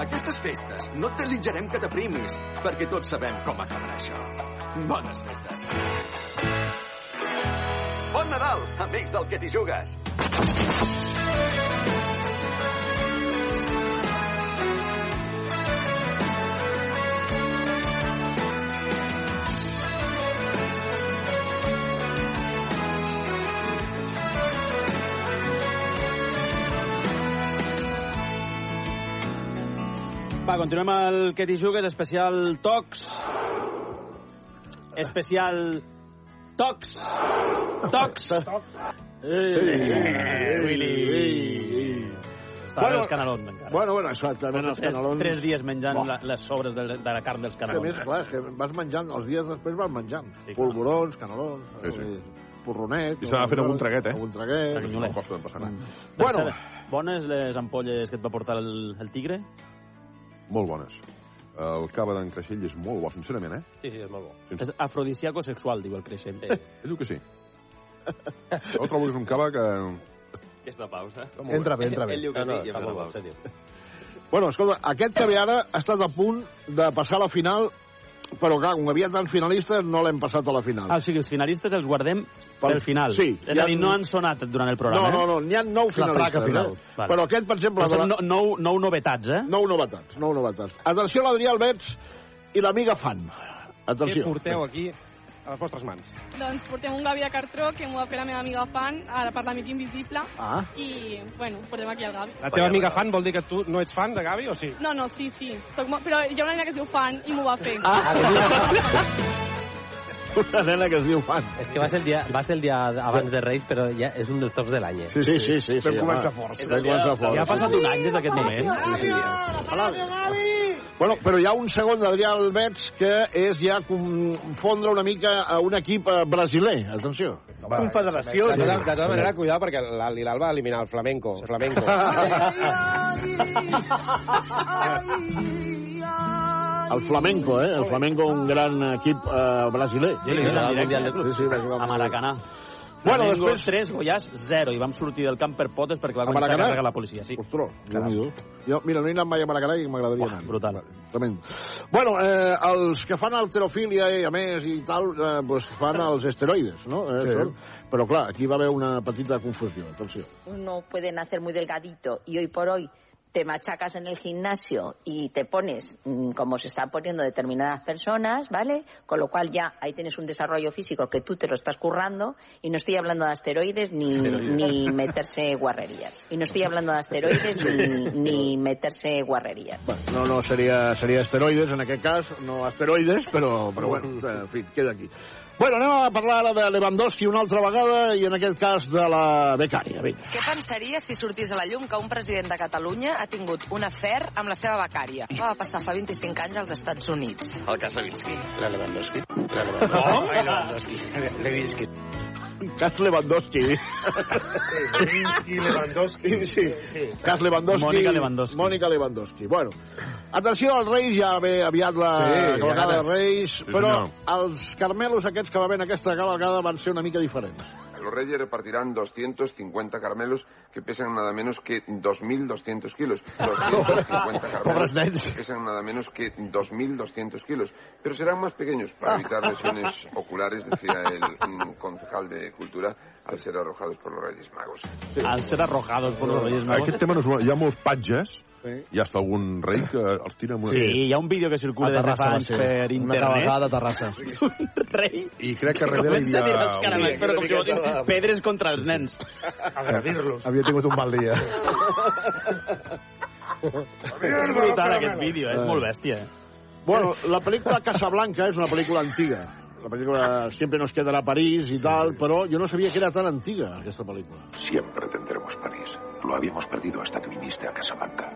S16: Aquestes festes no et desitjarem que t'aprimis,
S11: Perquè tots sabem com acabarà això. Bones festes.
S16: Bon Nadal, amics del que t'hi jugues.
S1: Va, continuem al Que t'hi jugues, especial tocs. Especial tocs. Tocs. Eh,
S4: Ei, ei, ei, ei, ei.
S1: Estava bueno, els canelons, encara.
S4: Bueno, bueno, exactament, els
S1: Tres-
S4: canelons...
S1: Tres dies menjant
S4: Buah.
S1: la, les sobres de, de la carn dels
S4: A
S1: canelons. eh?
S4: més, clar, és que vas menjant, els dies després vas menjant. Sí, Polvorons, canelons, sí, sí. porronet...
S6: I s'anava fent algun traguet, eh?
S4: Algun traguet.
S6: Perquè si no costa de passar.
S1: Mm.
S4: Bueno.
S1: Bones les ampolles que et va portar el, el tigre?
S6: Molt bones. El cava d'en Creixell és molt bo, sincerament, eh?
S1: Sí, sí, és molt bo. És afrodisíaco sexual, diu el creixent.
S6: Ell diu que sí. Jo trobo que és un cava que...
S18: Que és una pausa.
S6: molt Entra bé. bé, entra bé.
S18: Ell diu que
S6: No,
S18: sí,
S6: no,
S18: i
S6: està
S18: és una
S6: molt
S18: pausa.
S4: Bueno, escolta, aquest que ve ara ha estat a punt de passar a la final, però clar, com que havia tants finalistes, no l'hem passat a la final.
S1: Ah, o sigui, els finalistes els guardem pel final.
S4: Sí.
S1: És a dir, no han sonat durant el
S4: No,
S1: programa,
S4: no, no,
S1: eh?
S4: n'hi ha nou
S1: La
S4: finalistes.
S1: placa final.
S4: Eh?
S1: Vale.
S4: Però aquest, per exemple...
S1: Però són
S4: de la-
S1: nou, nou novetats, eh?
S4: Nou novetats, nou novetats. Atenció a l'Adrià Albets i l'amiga Fan. Atenció.
S10: Què porteu aquí a les vostres mans?
S32: Doncs portem un Gavi de cartró que m'ho va fer la meva amiga fan ara per l'amic invisible
S10: Ah.
S32: i, bueno, portem aquí el Gavi.
S10: La teva amiga fan vol dir que tu no ets fan de Gavi o sí?
S32: No, no, sí, sí. Soc mo... Però hi ha una nena que es diu fan i m'ho va fer.
S33: Ah.
S29: Ah,
S4: Una nena que es diu Fan.
S29: És que va ser el dia, va ser el dia abans de Reis, però ja és un dels tops de l'any. eh?
S4: Sí, sí, sí, sí, sí, Vam començar home. forts. Vam començar forts,
S1: Ja ha passat
S4: sí, sí.
S1: un any des d'aquest moment.
S4: Bueno, però hi ha un segon d'Adrià Albets que és ja confondre una mica a un equip eh, brasiler. Atenció.
S10: Confederació. De, tota- de tota manera, cuidado, perquè la Lilal va eliminar el flamenco. flamenco.
S4: El Flamenco, eh? El Flamenco, un gran equip eh, brasiler.
S1: Sí, sí, sí, Mundial de
S4: sí, sí, va jugar
S1: a Maracanà.
S4: Bueno,
S1: Flamengo,
S4: després-
S1: 3, Goiás 0, i vam sortir del camp per potes perquè va
S4: A
S1: començar a
S4: Maracanà?
S1: carregar la policia. Sí.
S4: Ostres, Déu-n'hi-do. Jo, mira, no he anat mai a Maracanà i m'agradaria anar. Brutal. Tremendo. Bueno, eh, els que fan alterofília i a més i tal, eh, pues fan els esteroides, no? Eh,
S2: Sí.
S4: són- Però clar, aquí va haver una petita confusió, atenció.
S34: Uno puede nacer muy delgadito y hoy por hoy te machacas en el gimnasio y te pones mm, como se están poniendo determinadas personas, ¿vale? Con lo cual ya ahí tienes un desarrollo físico que tú te lo estás currando y no estoy hablando de asteroides ni,
S20: Esteroides.
S34: ni meterse guarrerías. Y no estoy hablando de asteroides ni, ni meterse guarrerías.
S4: No, no, seria, seria esteroides, en aquest cas, no asteroides, però, però bueno, eh, en fi, queda aquí. Bueno, anem a parlar ara de Lewandowski una altra vegada i en aquest cas de la becària, vinga.
S34: Què pensaria si sortís a la llum que un president de Catalunya ha tingut un afer amb la seva becària? Va passar fa 25 anys als Estats Units.
S35: El cas Levinsky. La Lewandowski. La
S4: Com?
S35: Ai, Lewandowski. Levinsky.
S4: Cas Lewandowski.
S7: Lewinsky,
S4: Lewandowski. Sí,
S7: sí.
S4: Cas Lewandowski.
S1: Mònica Lewandowski.
S4: Mònica Lewandowski. Bueno, atenció als Reis, ja ve aviat la
S2: Sí,
S4: sí, cavalcada de
S2: ja
S4: Reis,
S6: Sí,
S4: però
S6: senyor.
S4: els carmelos aquests que va haver en aquesta cavalcada van ser una mica diferents.
S15: Los Reyes repartirán 250 caramelos que pesan nada menos que 2.200 kilos. 250 caramelos que pesan nada menos que 2.200 kilos. Pero serán más pequeños para evitar lesiones oculares, decía el mm, concejal de Cultura, al ser arrojados por los Reyes Magos.
S1: Al ser arrojados por los Reyes Magos.
S6: Aquest tema no és... Hi ha molts patges, hi ha hasta algun rei que els tira amb una...
S1: Sí, hi ha un vídeo que circula des de fa anys per internet.
S2: cavalcada a Terrassa.
S1: Rei.
S6: I crec
S2: que darrere hi
S1: Comença a
S2: havia
S1: tirar els caramels,
S2: un-
S1: però com si
S2: una miqueta
S1: fossin
S2: de-
S1: pedres contra els nens.
S7: Agradir-los.
S2: Havia tingut un mal dia.
S1: És brutal aquest vídeo, eh? és molt bèstia.
S4: Bueno, la pel·lícula Casablanca és una pel·lícula antiga. La pel·lícula Siempre nos quedará París i tal, però jo no sabia que era tan antiga, aquesta pel·lícula.
S35: Siempre tendremos París. Lo habíamos perdido hasta que viniste a Casablanca.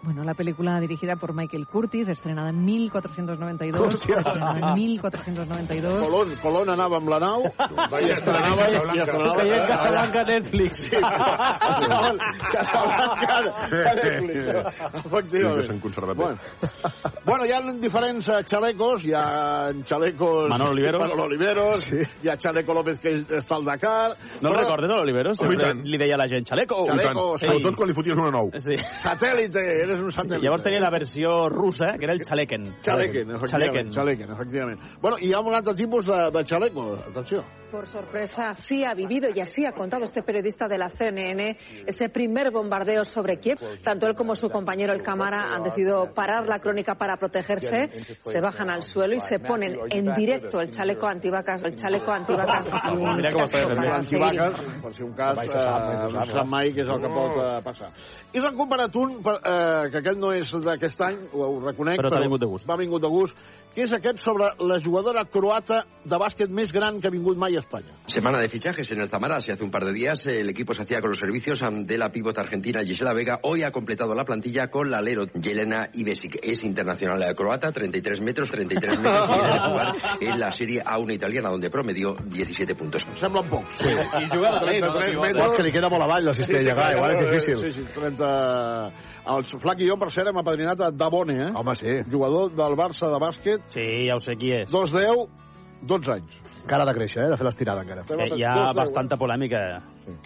S33: Bueno, la película dirigida por Michael Curtis, estrenada en 1492.
S4: Hòstia.
S33: estrenada en 1492.
S4: Colón, Colón anava amb la nau, va i estrenava i i estrenava.
S33: Veia
S1: Casablanca a Netflix.
S4: Sí, Casablanca a Netflix.
S6: Sempre
S4: Efectivament.
S6: s'han conservat bé.
S4: Bueno, bueno, hi ha diferents eh, chalecos, hi ha chalecos...
S1: Manolo Oliveros.
S4: Manolo Oliveros, sí. hi ha Chaleco López que està al Dakar.
S1: No el
S4: Però-
S1: recordes, a l'Olivero? Sempre li deia a la gent, xaleco.
S4: Xaleco,
S1: Ei.
S6: Sobretot quan li foties una nou.
S1: Sí.
S4: Satèl·lite, eh, eres un satèl·lite.
S1: Llavors tenia la versió russa, que era el xaleken.
S4: Chalequen, efectivament.
S1: Xaleken.
S4: Chalequen, efectivament. Bueno, i hi ha un altre tipus de, de chaleco, atenció.
S33: Por sorpresa, sí ha vivido y así ha contado este periodista de la CNN ese primer bombardeo sobre Kiev. Tanto él como su compañero el Camara han decidido parar la crónica para protegerse. Se bajan al suelo y se ponen en directo el chaleco antivacas, el chaleco antivacas.
S1: Mira com està defensat.
S4: Antivaques, per si un cas,
S1: Mai
S4: mai
S1: se sap, mai se sap,
S4: eh, no
S1: no?
S4: se sap mai què és el que
S1: No.
S4: pot eh, passar. I s'han comparat un, per, eh, que aquest no és d'aquest any, ho, ho reconec,
S1: Però t'ha vingut de
S4: gust. m'ha vingut de gust, que és aquest sobre la jugadora croata de bàsquet més gran que ha vingut mai a Espanya.
S2: Semana de fichajes en el Tamaras y hace un par de días eh, el equipo se hacía con los servicios de la pívot argentina Gisela Vega. Hoy ha completado la plantilla con la alero Yelena Ibesic. Es internacional croata, 33 metros, 33 metros y viene a jugar en la Serie A una italiana donde promedió 17 puntos.
S4: Semblen pocs.
S2: Sí. I
S18: jugant a l'alero, no? És que li queda molt avall la cistella, clar, igual és difícil.
S4: eh, Sí, sí, 30... El Flac i jo, per cert, hem apadrinat a Dabone, eh?
S18: Home, sí.
S4: Jugador del Barça de bàsquet.
S1: Sí, ja ho sé qui és.
S4: 2-10, 12 anys.
S18: Encara ha de créixer, eh? De fer l'estirada, encara.
S1: Eh, hi ha bastanta polèmica. Sí.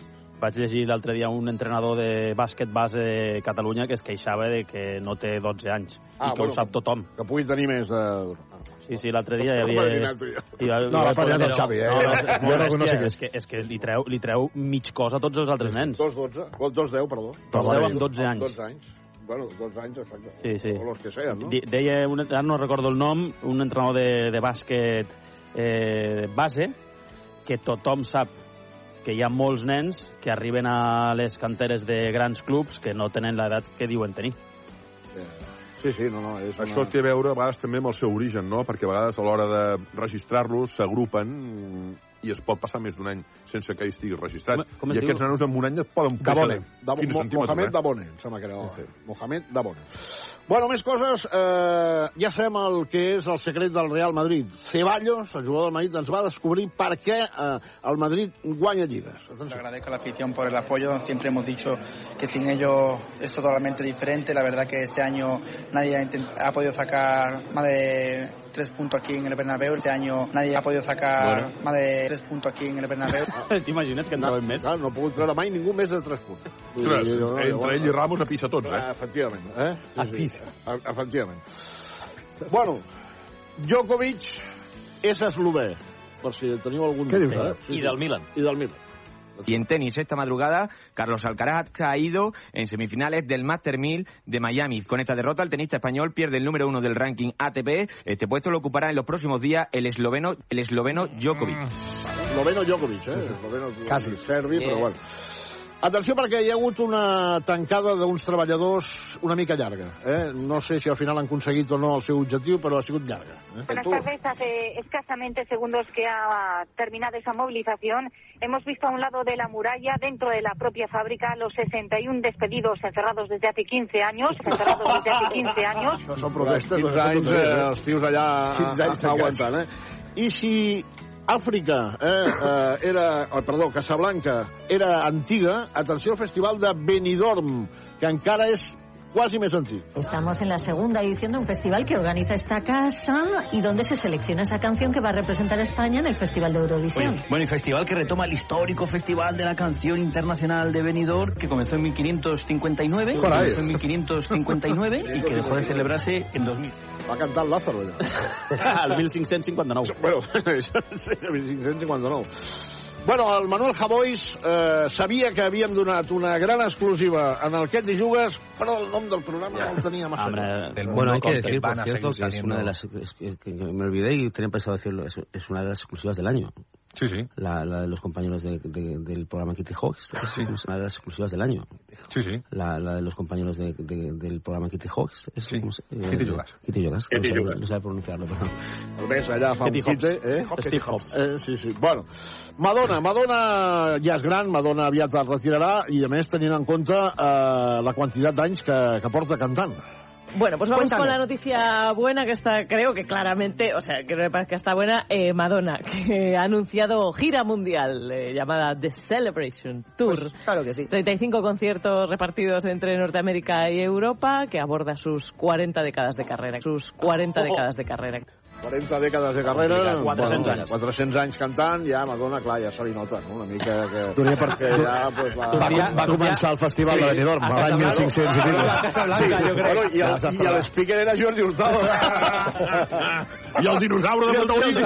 S1: Vaig llegir l'altre dia un entrenador de bàsquet base a Catalunya que es queixava de que no té 12 anys ah, i que bueno, ho sap tothom.
S4: Que pugui tenir més eh, de...
S1: Sí, sí, l'altre dia hi
S4: Ho
S1: havia...
S4: has adivinat tu, ja.
S1: hi havia-
S18: No, l'has adivinat el Xavi, eh?
S1: No, no, és,
S18: Jo no-
S1: és,
S18: no sé què
S1: és, que, és que li treu, li treu mig cosa a tots els altres nens.
S4: 2-12, 2-10, perdó.
S1: Però vale. amb 12 anys.
S4: 12 anys. Bueno, 12 anys, exacte.
S1: Sí, sí.
S4: O los que sean, no?
S1: Di- Deia, un, ara no recordo el nom, un entrenador de, de bàsquet eh, base que tothom sap que hi ha molts nens que arriben a les canteres de grans clubs que no tenen l'edat que diuen tenir.
S4: Sí, sí, no, no. És
S6: Això té a veure a vegades també amb el seu origen, no? Perquè a vegades a l'hora de registrar-los s'agrupen mm, i es pot passar més d'un any sense que hi estigui registrat.
S4: Com- com es
S6: I
S4: diu?
S6: aquests nanos amb un any et poden
S4: Dabone.
S6: de
S4: Dabone.
S6: 15
S4: Mo-
S6: centímetres.
S4: Mohamed
S6: eh?
S4: Dabone, em sembla que era. Sí, sí. Mohamed Dabone. Bueno, més coses. Eh, ja sabem el que és el secret del Real Madrid. Ceballos, el jugador del Madrid, ens va descobrir per què eh, el Madrid guanya lligues.
S5: Les agradezco a la afición por el apoyo. Siempre hemos dicho que sin ellos es totalmente diferente. La verdad que este año nadie ha, intent- ha podido sacar más de tres puntos aquí en el Bernabéu. Este año nadie ha podido sacar
S1: Bueno.
S5: más de tres puntos aquí en el Bernabéu.
S1: T'imagines que en treuen més?
S4: Clar, no ha pogut treure mai ningú més de 3 punts. Vull
S6: Ostres,
S4: dir, no,
S6: entre
S4: llavors-
S6: ell i Ramos a pisa
S11: Doncs,
S6: tots, eh?
S4: Ah, efectivament. Eh?
S6: A
S4: pisa. Efectivament. Bueno, Djokovic és eslové, per si teniu algun...
S11: Què dius,
S4: dubte,
S11: ara?
S4: eh? Sí,
S11: I
S4: sí.
S11: del Milan.
S4: I del Milan.
S11: Y en tenis, esta madrugada, Carlos Alcaraz ha ido en semifinales del Master 1000 de Miami. Con esta derrota, el tenista español pierde el número uno del ranking ATP. Este puesto lo ocupará en los próximos días el esloveno, el esloveno Djokovic.
S4: Esloveno Djokovic, eh? Esloveno
S11: Quasi.
S4: Serbi,
S11: Eh.
S4: però bueno. Atenció perquè hi ha hagut una tancada d'uns treballadors una mica llarga. Eh? No sé si al final han aconseguit o no el seu objectiu, però ha sigut llarga. Eh?
S16: Buenas tardes. Hace escasamente segundos que ha terminado esa movilización, hemos visto a un lado de la muralla, dentro de la propia fábrica, los 61 despedidos encerrados desde hace 15 años, encerrados desde hace 15 años.
S4: No són protestes,
S6: Quinze
S4: els anys,
S6: anys,
S4: eh,
S6: eh?
S4: els tios allà
S6: Quinze anys
S4: a- a- aguantant. Eh? I si Àfrica, eh, eh, era, oh, perdó, Casablanca, era antiga, atenció al festival de Benidorm, que encara és quasi més antic.
S36: Estamos en la segunda edición de un festival que organiza esta casa y donde se selecciona esa canción que va a representar a España en el Festival de Eurovisión.
S37: Bueno, y festival que retoma el histórico Festival de la Canción Internacional de Benidorm, que comenzó en 1559, que
S4: Caray.
S37: comenzó en 1559 y que dejó de celebrarse en 2000.
S4: Va cantar el Lázaro, allà.
S1: El 1559.
S4: Bueno, el 1559. Bueno, el Manuel Javois eh, sabia que havíem donat una gran exclusiva en el Què t'hi jugues, però el nom del programa no el tenia massa. clar.
S38: bueno, hay que decir, por cierto, que es una de las... es que, que- que me olvidé y tenía pensado decirlo. Es, es una de las exclusivas del año.
S6: Sí, sí.
S38: La, la de los compañeros de- de- del programa Kitty Hawks. Es una de las exclusivas del año.
S6: Sí, sí.
S38: La, la de los compañeros de- de- del programa Kitty Hawks. Es, sí.
S6: Kitty Yogas.
S38: Kitty Yogas.
S6: Kitty
S38: no,
S6: Yogas.
S38: sabe, no sabe pronunciarlo, perdón.
S4: El ves allà fa
S38: Steve
S4: un quite,
S38: Hobbs.
S4: eh?
S38: Steve Hobbs.
S4: Eh, sí, sí. Bueno, Madonna, Madonna ja és gran, Madonna aviat es retirarà i, a més, tenint en compte eh, la quantitat d'anys que, que porta cantant.
S24: Bueno, pues vamos
S4: Cuéntame.
S24: con la noticia buena que está, creo que claramente, o sea, que me parece que está buena, eh, Madonna, que ha anunciado gira mundial eh, llamada The Celebration Tour. claro que sí. 35 conciertos repartidos entre Norteamérica y Europa que aborda sus 40 décadas de carrera. Sus 40
S4: Ojo.
S24: décadas de carrera.
S4: 40 dècades de carrera...
S24: 400 anys.
S4: 400 anys cantant, ja Madonna, clar, ja se li nota, no? Una mica que...
S18: Donaria per-
S4: que ja, pues, la...
S18: Va- va- va començar el festival de Benidorm, l'any 1500 i pico. Sí.
S4: Bueno, i el, i el speaker era Jordi Hurtado.
S6: I el dinosaure de Montaurí.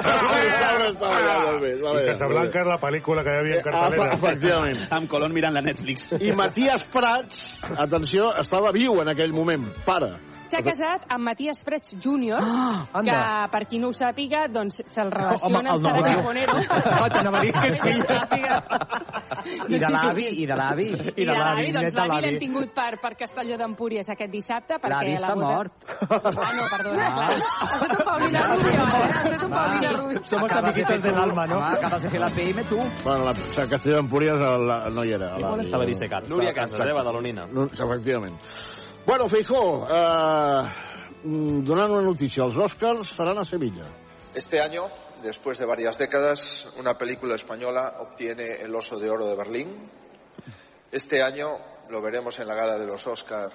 S7: I Casablanca és la pel·lícula que hi havia
S1: Ah,
S7: en cartelera.
S4: Efectivament.
S1: Amb Colón mirant la Netflix.
S4: I Matías Prats, atenció, estava viu en aquell moment, pare.
S8: S'ha casat amb Matías Frech Jr.,
S9: Ah,
S8: que,
S9: anda.
S8: per qui no ho sàpiga, doncs se'l
S9: Home,
S8: relaciona
S9: el
S8: amb Sara
S9: Navarro.
S8: Carbonero.
S9: Ah, t'anava a dir que sí. I de l'avi, i de l'avi.
S8: I de l'avi,
S9: net
S8: doncs
S9: de
S8: l'avi l'hem
S9: l'avi.
S8: tingut per, per Castelló d'Empúries aquest dissabte. perquè
S9: L'avi
S8: la
S9: està
S8: boda-
S9: mort.
S8: Ah, no, perdona, clar. Has fet un Paulina Rubio, eh? Has fet un Paulina Rubio.
S9: Somos Ah. amiguitos del alma, ¿no? Acabas de que la PM tú.
S4: Bueno, la, o sea, Castelló d'Empúries la- no hi era.
S9: Li
S4: la-
S9: molesta haver dissecat. Núria Casas,
S4: Exacte.
S9: eh, badalonina.
S4: No, efectivament. Bueno, Feijó, eh, mm, donant una notícia, els Oscars faran a Sevilla.
S17: Este año, después de varias décadas, una película española obtiene el Oso de Oro de Berlín. Este año lo veremos en la gala de los Oscar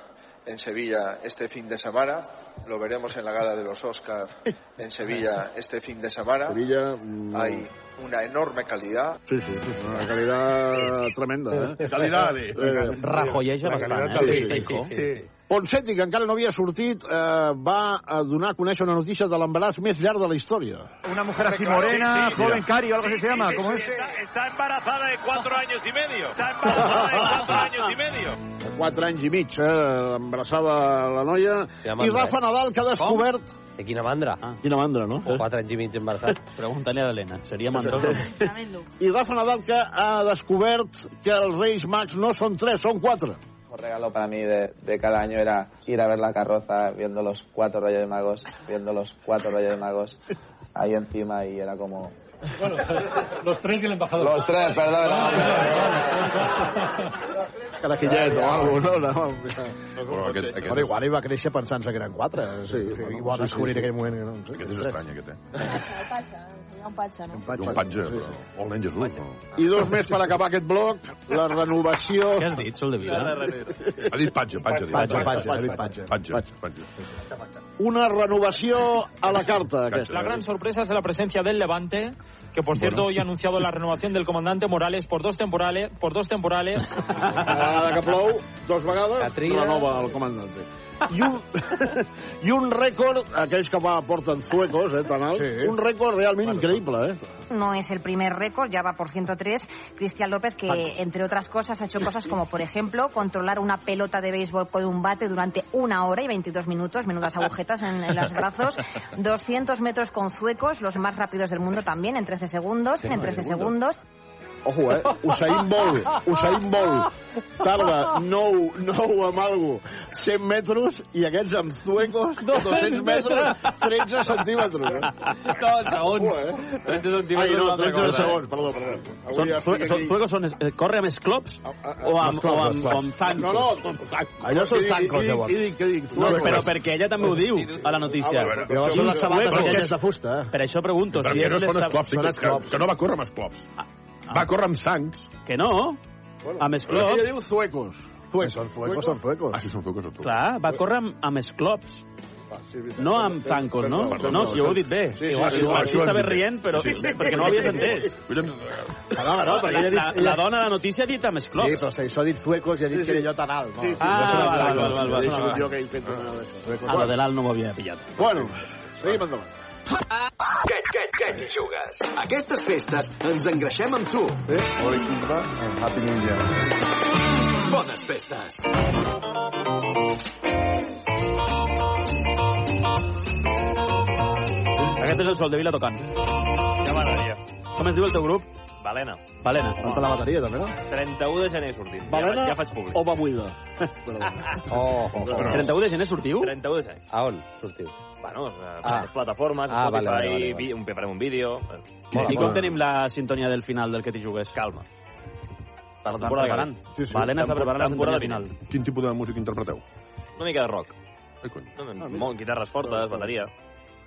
S17: en Sevilla este fin de semana. Lo veremos en la gala de los Oscar en Sevilla este fin de semana.
S4: Sevilla... mm,
S17: Hay una enorme calidad.
S4: Sí, sí, una calidad tremenda, eh?
S17: Calidad, eh?
S4: eh
S1: Rajoyeja bastant, eh?
S4: calidad,
S1: Sí, sí, sí, sí.
S4: Ponseti, que encara no havia sortit, eh, va a donar a conèixer una notícia de l'embaràs més llarg de la història.
S11: Una mujer
S4: así morena, joven, cari, o algo así se llama, ¿cómo es?
S11: Está, está embarazada de cuatro años y medio. Está embarazada de cuatro años y medio.
S4: De 4 anys i mig, eh, embarassada la noia. I Rafa Nadal, que ha descobert...
S29: De quina mandra? Ah.
S4: Quina mandra, no?
S29: O quatre anys i mig embarassat. Pregunta-li a l'Helena. Seria
S1: mandrona?
S4: I Rafa Nadal, que ha descobert que els Reis Mags no són 3, són 4.
S16: Un regalo para mí de, de cada año era ir a ver la carroza viendo los cuatro Reyes Magos, viendo los cuatro Reyes Magos ahí encima y era como...
S31: Bueno, los tres y el embajador.
S16: Los tres, perdón.
S4: Carajillet o alguna cosa, no?
S6: Però aquest, aquest,
S2: Però igual hi va créixer pensant-se que eren quatre. Sí, sí, igual
S6: sí,
S2: descobrir
S6: sí.
S2: en aquell moment que no. en sé,
S6: aquest és
S2: tres.
S6: estrany, aquest, eh?
S31: Seria un patxa, no?
S6: Un patge, però... O el nen Jesús, no?
S4: I dos més per acabar aquest bloc, la renovació...
S1: Què has dit, Sol de Vila?
S6: Ha dit patge, patge. ha dit
S4: Patge, patge, ha dit
S6: patge.
S4: patge.
S6: Patge, patge.
S4: Una renovació a la carta, aquesta.
S14: La gran sorpresa es la presencia del Levante, que por cierto hoy ha anunciado la renovación del comandante Morales por dos temporales, por dos temporales.
S4: Una vegada que plou, dos vegades, renova el comandante. I un, I un rècord, aquells que va porten suecos, eh, tan alt, sí. un rècord realment increïble, eh?
S31: No es el primer récord, ya va por 103. Cristian López, que
S4: Vale.
S31: entre otras cosas ha hecho cosas como, por ejemplo, controlar una pelota de béisbol con un bate durante una hora y 22 minutos, menudas agujetas en, en los brazos. 200 metros con suecos, los más rápidos del mundo también, en 13 segundos.
S4: Sí,
S31: En
S4: madre
S31: 13
S4: del mundo.
S31: segundos.
S4: Ojo, eh? Usain Bolt, Usain Bolt. Tarda 9, 9 amb algo, 100 metres, i aquests amb suecos, 200 metres, 13 centímetres. Eh?
S1: No, segons.
S4: 13 Ai, no, 13 segons, perdó, perdó. Avui
S1: Són,
S4: ja estic
S1: sue- són,
S4: aquí.
S1: suecos són, eh, corre amb esclops o
S4: Les
S1: amb, o amb,
S4: coses, clar.
S1: o amb zancos?
S4: No, no, com-
S1: Allò són
S4: I- i-
S1: zancos,
S4: i-
S1: llavors.
S4: i dic- què dic?
S1: No,
S4: Suecos.
S1: però perquè ella també ho diu a la notícia.
S6: Ah, bueno, però Llavors són les sabates
S1: Suecos,
S6: aquelles
S1: que-
S6: de fusta, eh?
S1: Per això pregunto.
S6: Però
S1: si
S6: que
S1: és
S6: no
S1: les
S6: són
S1: sab-
S6: esclops, sí,
S1: són
S6: que- que, que no va córrer amb esclops. Va córrer amb sangs.
S1: Que no? Amb esclops.
S4: Ella diu suecos. Suecos. Són
S1: suecos, són
S4: suecos.
S6: Ah, sí, són suecos, són suecos.
S1: Clar, va córrer amb, amb esclops. No amb zancos, no? No, si ho heu dit bé. Igual- igual aquí estava rient, però perquè no ho havies entès.
S6: eh,
S2: no, no, perquè ella ha dit-
S1: La- la dona de la notícia ha dit amb esclops.
S2: Sí, però si això ha dit suecos i ha dit
S1: Sí, sí.
S2: que era allò tan alt. no.
S1: Sí, sí. Ah, val, val, val, val, val.
S2: Sí, sí,
S1: Jo
S4: que he fet una
S1: A lo de l'alt no m'ho havia pillat.
S4: Bueno, seguim endavant.
S18: Què, què, què t'hi jugues? Aquestes festes ens engreixem amb tu. Eh?
S11: Happy New Year.
S18: Bones festes.
S1: Aquest és el Sol de Vila tocant.
S18: Ja m'agradaria.
S1: Com es diu el teu grup?
S18: Balena.
S1: Valena.
S2: Falta la bateria, també, no?
S18: 31 de gener sortim.
S1: Balena
S18: ja, ja faig públic.
S4: o Babuida?
S18: Oh, oh, oh.
S1: 31 de gener sortiu?
S18: 31 de gener. A on sortiu? Bueno, a
S1: Ah.
S18: ah. plataformes,
S1: Ah,
S18: ah, Spotify,
S1: vale,
S18: vale,
S1: vale, vale, vale.
S18: un, farem un vídeo...
S1: I com tenim la sintonia del final del que t'hi jugues? Calma. Per tant,
S18: Temporada
S1: preparant.
S18: vinent.
S1: Sí, sí. Valena està preparant la
S18: Temporada
S1: sintonia final.
S6: Quin tipus de música interpreteu?
S18: Una mica de rock.
S6: Ai, cony.
S1: Ah,
S18: No, no, molt, guitarres fortes, bateria...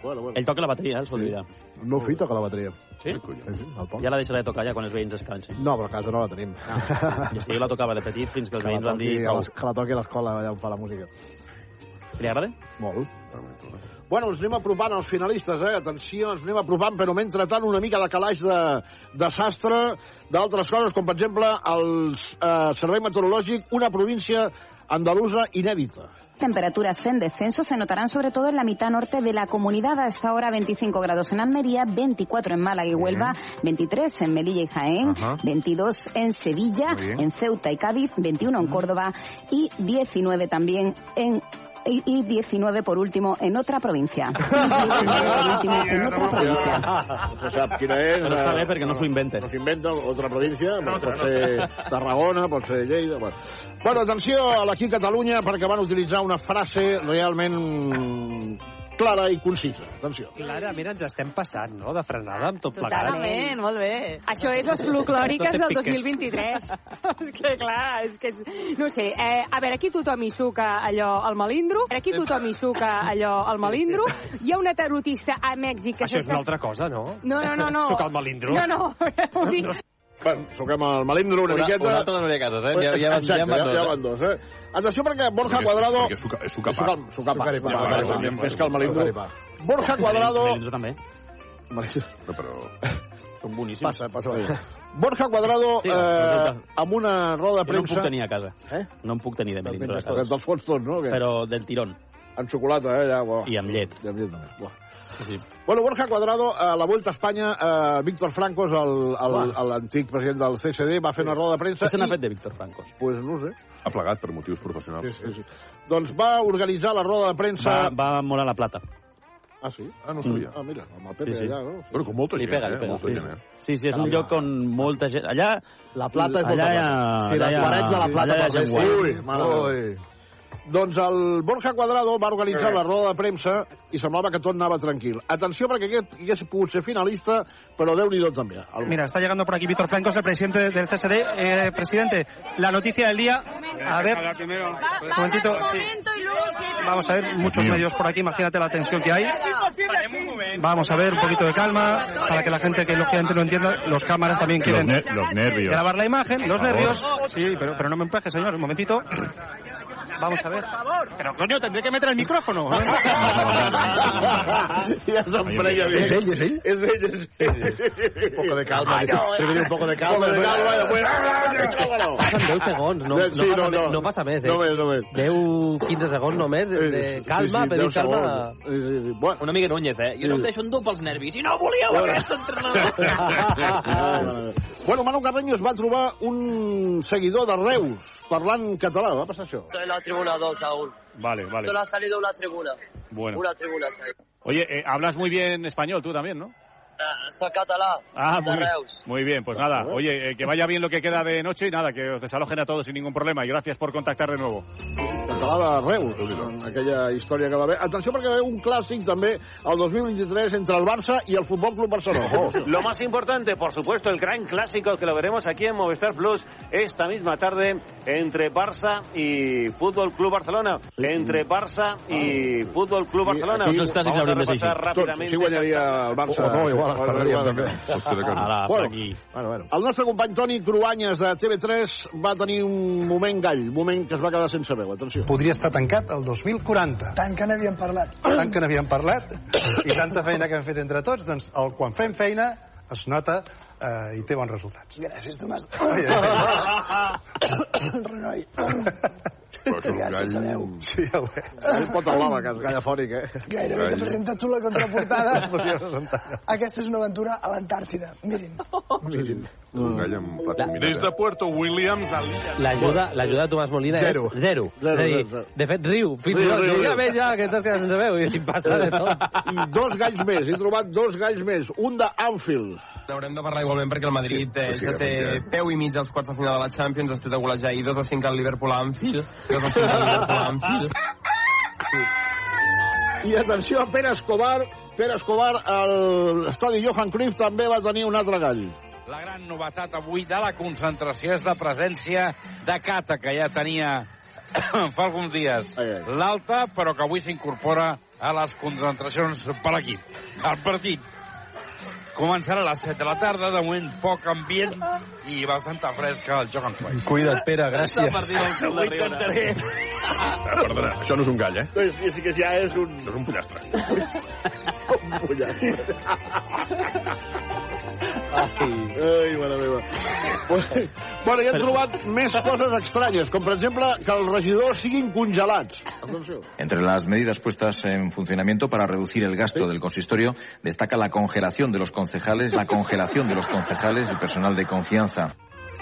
S4: Bueno, bueno.
S1: Ell toca la bateria, eh, el Sol de Vila.
S2: El meu fill toca la bateria.
S1: Sí?
S2: El Pol.
S1: Ja la deixarà de tocar ja quan els veïns es cansin.
S2: No, però a casa no la tenim.
S1: I és que jo la tocava de petit fins que els
S2: Que la
S1: veïns van dir...
S2: toqui a
S1: "Prou".
S2: les- Que la toqui a l'escola, allà on fa la música.
S1: Li agrada?
S2: Molt.
S4: Bueno, ens anem apropant als finalistes, eh? Atenció, ens anem apropant, però mentrestant una mica de calaix de, de sastre d'altres coses, com per exemple el eh, Servei Meteorològic, una província andalusa inèdita.
S31: Temperaturas en descenso se notarán sobre todo en la mitad norte de la comunidad. A esta hora 25 grados en Almería, 24 en Málaga y Huelva, 23 en Melilla y Jaén,
S14: Ajá.
S31: 22 en Sevilla,
S14: Muy bien.
S31: en Ceuta y Cádiz, 21 en Córdoba y 19 también en y, y 19 por último en otra provincia. Y 19 por último en otra provincia.
S1: Ah.
S4: No se sap quina és.
S39: No se sap, eh,
S4: perquè no s'ho inventen. No s'ho inventen, otra província, no, pot
S39: no.
S4: ser Tarragona, pot ser Lleida... Bueno. bueno, atenció a l'equip Catalunya perquè van utilitzar una frase realment clara i concisa. Atenció.
S33: Clarament ens estem passant, no?, de frenada amb tot plegat.
S8: Totalment, molt bé. Això és les folclòriques
S33: No
S8: del
S33: te piques.
S8: 2023. és que, clar, és que... és- No ho sé, eh, a veure, aquí tothom hi suca allò al malindro, aquí tothom hi suca allò al malindro, hi ha una tarotista a Mèxic que
S33: Això és
S8: s'està-
S33: una altra cosa, no?
S8: No, no, no, no.
S33: Sucar el malindro.
S8: No, no, ho dic...
S4: Bueno, soquem el malindro una,
S33: Una-
S4: miqueta.
S33: una altra de
S4: novecates,
S33: eh? Ja- ja van-
S4: Exacte,
S33: ja van dos,
S4: ja
S33: eh?
S4: van dos, eh? Atenció perquè Borja Cuadrado...
S6: Perquè suca, és suca pa.
S4: Sucar- sucar pa.
S6: Sucar i pa.
S4: Sucar i pa.
S6: Sucar i pa.
S4: Més que el malindro.
S6: Sucar i pa.
S4: Borja Cuadrado...
S39: Melindro també.
S6: No, però...
S39: Són boníssims. Passa,
S4: passa. Borja Quadrado,
S39: Sí,
S4: eh,
S39: escolta.
S4: amb una roda de
S39: Jo no en
S4: premsa...
S39: puc tenir a casa.
S4: Eh?
S39: No en puc tenir de melindro a
S4: Menges
S2: doncs,
S39: casa.
S4: tots, els fons tots, no? o què?
S39: Però del tirón.
S4: Amb xocolata, eh? Ja, bo.
S39: I amb llet.
S4: I amb llet només. Buah.
S2: Doncs,
S39: Sí.
S4: Bueno, Borja Cuadrado, a la Vuelta a Espanya, eh, Víctor Francos, el- el- el- l'antic president del CSD, va fer una roda de premsa...
S6: Què se n'ha fet Ah,
S39: de Víctor Francos?
S4: Pues no ho sé.
S6: Ha plegat per motius professionals.
S4: Sí, sí, sí. Doncs va organitzar la roda de premsa...
S39: Va, va molar la plata.
S4: Ah, sí?
S6: Ah, no ho sabia.
S4: Ah, mira, amb el Pepe
S39: Sí, sí.
S4: allà, no?
S6: Però com molta
S39: Li
S6: gent,
S39: pega, li
S6: eh?
S39: pega,
S6: Molta
S39: sí.
S6: gent, eh?
S39: Sí, sí, és un lloc on molta gent... Allà...
S4: La Plata és
S39: allà
S4: molta
S39: hi ha,
S4: cosa. Sí,
S39: allà
S4: les
S39: hi ha-
S4: guarets de la
S39: allà
S4: Plata
S39: hi ha
S4: per
S39: gent
S4: fer-
S39: guai.
S4: Ui, mare meva. Doncs el Borja Cuadrado va organitzar la roda de premsa i semblava que tot anava tranquil. Atenció, perquè aquest hagués pogut ser finalista, però déu-n'hi-do també. El...
S20: Mira, está llegando por aquí Víctor Francos, el presidente del CSD. Eh, presidente, la noticia del día. A ver, un momentito. sí. Vamos a ver, muchos medios por aquí, imagínate la tensión que hay. Vamos a ver, un poquito de calma, para que la gente que lógicamente no entienda, los cámaras también
S7: Los
S20: quieren
S7: ner- los nervios.
S20: grabar la imagen, los
S7: Por favor.
S20: nervios. Sí, pero, pero no me empujes, señor, un momentito. Vamos a ver. Pero coño, tendré que meter el micrófono. ¿eh?
S4: Ja s'empreia bé.
S20: És ell,
S4: és ell? És ell, és ell. Un poco de calma. Ah, no,
S20: Te diré un poco de calma.
S4: Un poco de calma. i Després...
S33: Passen 10 segons, no, no,
S4: Sí,
S33: passa,
S4: no, no.
S33: no passa més, eh?
S4: Només, només.
S33: 10, 15 segons només, de calma, sí, sí,
S4: deu
S33: pedir calma.
S7: Ah,
S4: segons. Sí,
S7: eh,
S4: sí, sí. pues. Bueno.
S40: Una mica Núñez, eh? Jo no em deixo endur pels nervis. I no volíeu aquesta entrenador.
S4: Bueno, Manu Carreño es va trobar un seguidor de Reus parlant català. Va passar això?
S18: Soy la tribuna 2, Saúl.
S7: Vale, vale.
S18: Solo ha salido una tribuna.
S7: Bueno.
S18: Una tribuna, Saúl.
S7: Oye, eh, hablas muy bien español tú también, ¿no?
S18: Ah, soy catalán.
S7: Ah,
S18: de
S7: muy bien.
S18: Reus.
S7: Muy bien, pues nada. Oye, eh, que vaya bien lo que queda de noche y nada, que os desalojen a todos sin ningún problema. Y gracias por contactar de nuevo.
S4: Català de Reus, en aquella història que va haver. Atenció perquè va haver un clàssic també el 2023 entre el Barça i el Futbol Club Barcelona.
S1: Lo más importante, por supuesto, el gran clásico que lo veremos aquí en Movistar Plus esta misma tarde entre Barça y Fútbol Club Barcelona. Entre Barça
S5: Ah.
S1: y Fútbol Club Barcelona.
S4: Tots els clàssics
S1: Vamos a
S4: l'hauríem de
S1: repasar
S4: llegir. Tots,
S1: rápidamente.
S4: si guanyaria el Barça...
S1: O no, igual es perdria,
S4: Bueno,
S14: Bueno, bueno.
S4: El nostre company Toni Cruanyes de TV3 va tenir un moment gall, un moment que es va quedar sense veu, atenció.
S5: podria estar tancat el 2040. Tant que n'havíem parlat. Tant que n'havíem parlat i tanta feina que hem fet entre tots, doncs el, quan fem feina es nota eh, i té bons resultats. Gràcies, Tomàs. Renoi.
S6: Gràcies, sabeu.
S5: Sí, ja ho veig.
S4: És pot alaba, que és gallafònic, eh?
S5: Gairebé que presenta tu la Ah, contraportada. Aquesta és una aventura a l'Antàrtida. Mirin.
S6: Un gall amb plat combinat, eh?
S1: Puerto Williams a
S33: L'ajuda l'ajuda de Tomàs Molina
S1: Zero.
S33: és zero.
S4: Zero,
S33: és a dir,
S4: zero, zero.
S33: de fet, riu. Fins i
S4: Riu,
S33: tot,
S4: riu,
S33: riu,
S4: riu.
S33: ja veig ja que t'has quedat sense veu. I passa de tot.
S4: I dos galls més, he trobat dos galls més. Un de Anfield.
S1: Haurem de parlar igualment perquè el Madrid eh,
S4: Sí, sí,
S1: ja té
S4: efectivament.
S1: peu i mig als quarts de final de la Champions després de golejar ahir 2 a 5 al Liverpool a Anfield, 2 a 5 al Liverpool a Anfield.
S4: I atenció a Pere Escobar. Pere Escobar, a l'estadi Johan Cruyff també va tenir un altre gall.
S5: La gran novetat avui de la concentració és la presència de Cata, que ja tenia fa alguns dies l'alta, però que avui s'incorpora a les concentracions per equip. El partit començarà a les 7 de la tarda, de moment poc ambient i bastanta fresca al Johan Cruyff. Cuida't, Pere,
S1: gràcies.
S5: Ho intentaré.
S6: Ah, perdona, això no és un gall, eh?
S4: És, és que ja és un...
S6: És un pollastre.
S4: Ai, mare meva. Bueno, ja hem trobat més coses estranyes, com per exemple que els regidors siguin congelats. Atenció.
S17: Entre las medidas puestas en funcionamiento para reducir el gasto del consistorio destaca la congelación de los concejales, la congelación de los concejales y personal de confianza.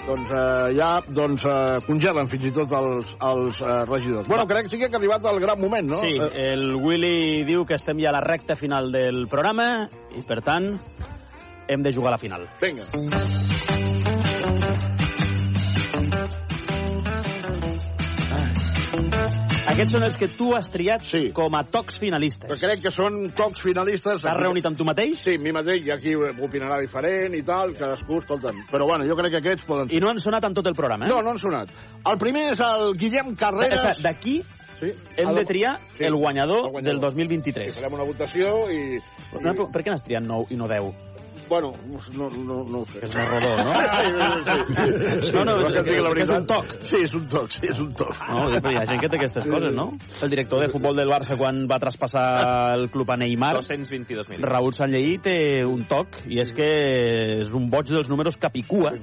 S4: doncs eh, ja doncs, eh, congelen fins i tot els, els eh, regidors. Bueno, crec que sí que ha arribat el gran moment, no?
S1: Sí,
S4: Eh,
S1: el Willy diu que estem ja a la recta final del programa i, per tant, hem de jugar a la final.
S4: Vinga.
S1: Aquests són els que tu has triat sí. com a tocs finalistes.
S4: Però crec que són tocs finalistes...
S1: T'has reunit amb tu mateix?
S4: Sí, mi mateix, i aquí opinarà diferent i tal, cadascú, escolta'm. Però bueno, jo crec que aquests poden...
S1: I no han sonat en tot el programa, eh?
S4: No, no han sonat. El primer és el Guillem
S1: Espera,
S4: Carreras...
S1: espera, D'aquí
S4: sí?
S1: hem de triar
S4: Sí,
S1: el, guanyador
S4: el guanyador.
S1: del 2023.
S4: Farem una votació i...
S1: No, però per què n'has triat 9 i no 10?
S4: Bueno, no, no, no ho sé.
S1: És més rodó, no?
S4: Sí, sí.
S1: No, no,
S4: Vol
S1: és,
S4: que et digui la
S1: és, és
S4: veritat?
S1: un toc.
S4: Sí, és un toc, sí, és un toc.
S1: No, però hi ha gent que té aquestes coses, no? El director de futbol del Barça quan va traspassar el club a Neymar...
S9: 222 milions.
S1: Raúl Sanlleí té un toc, i és que és un boig dels números capicua.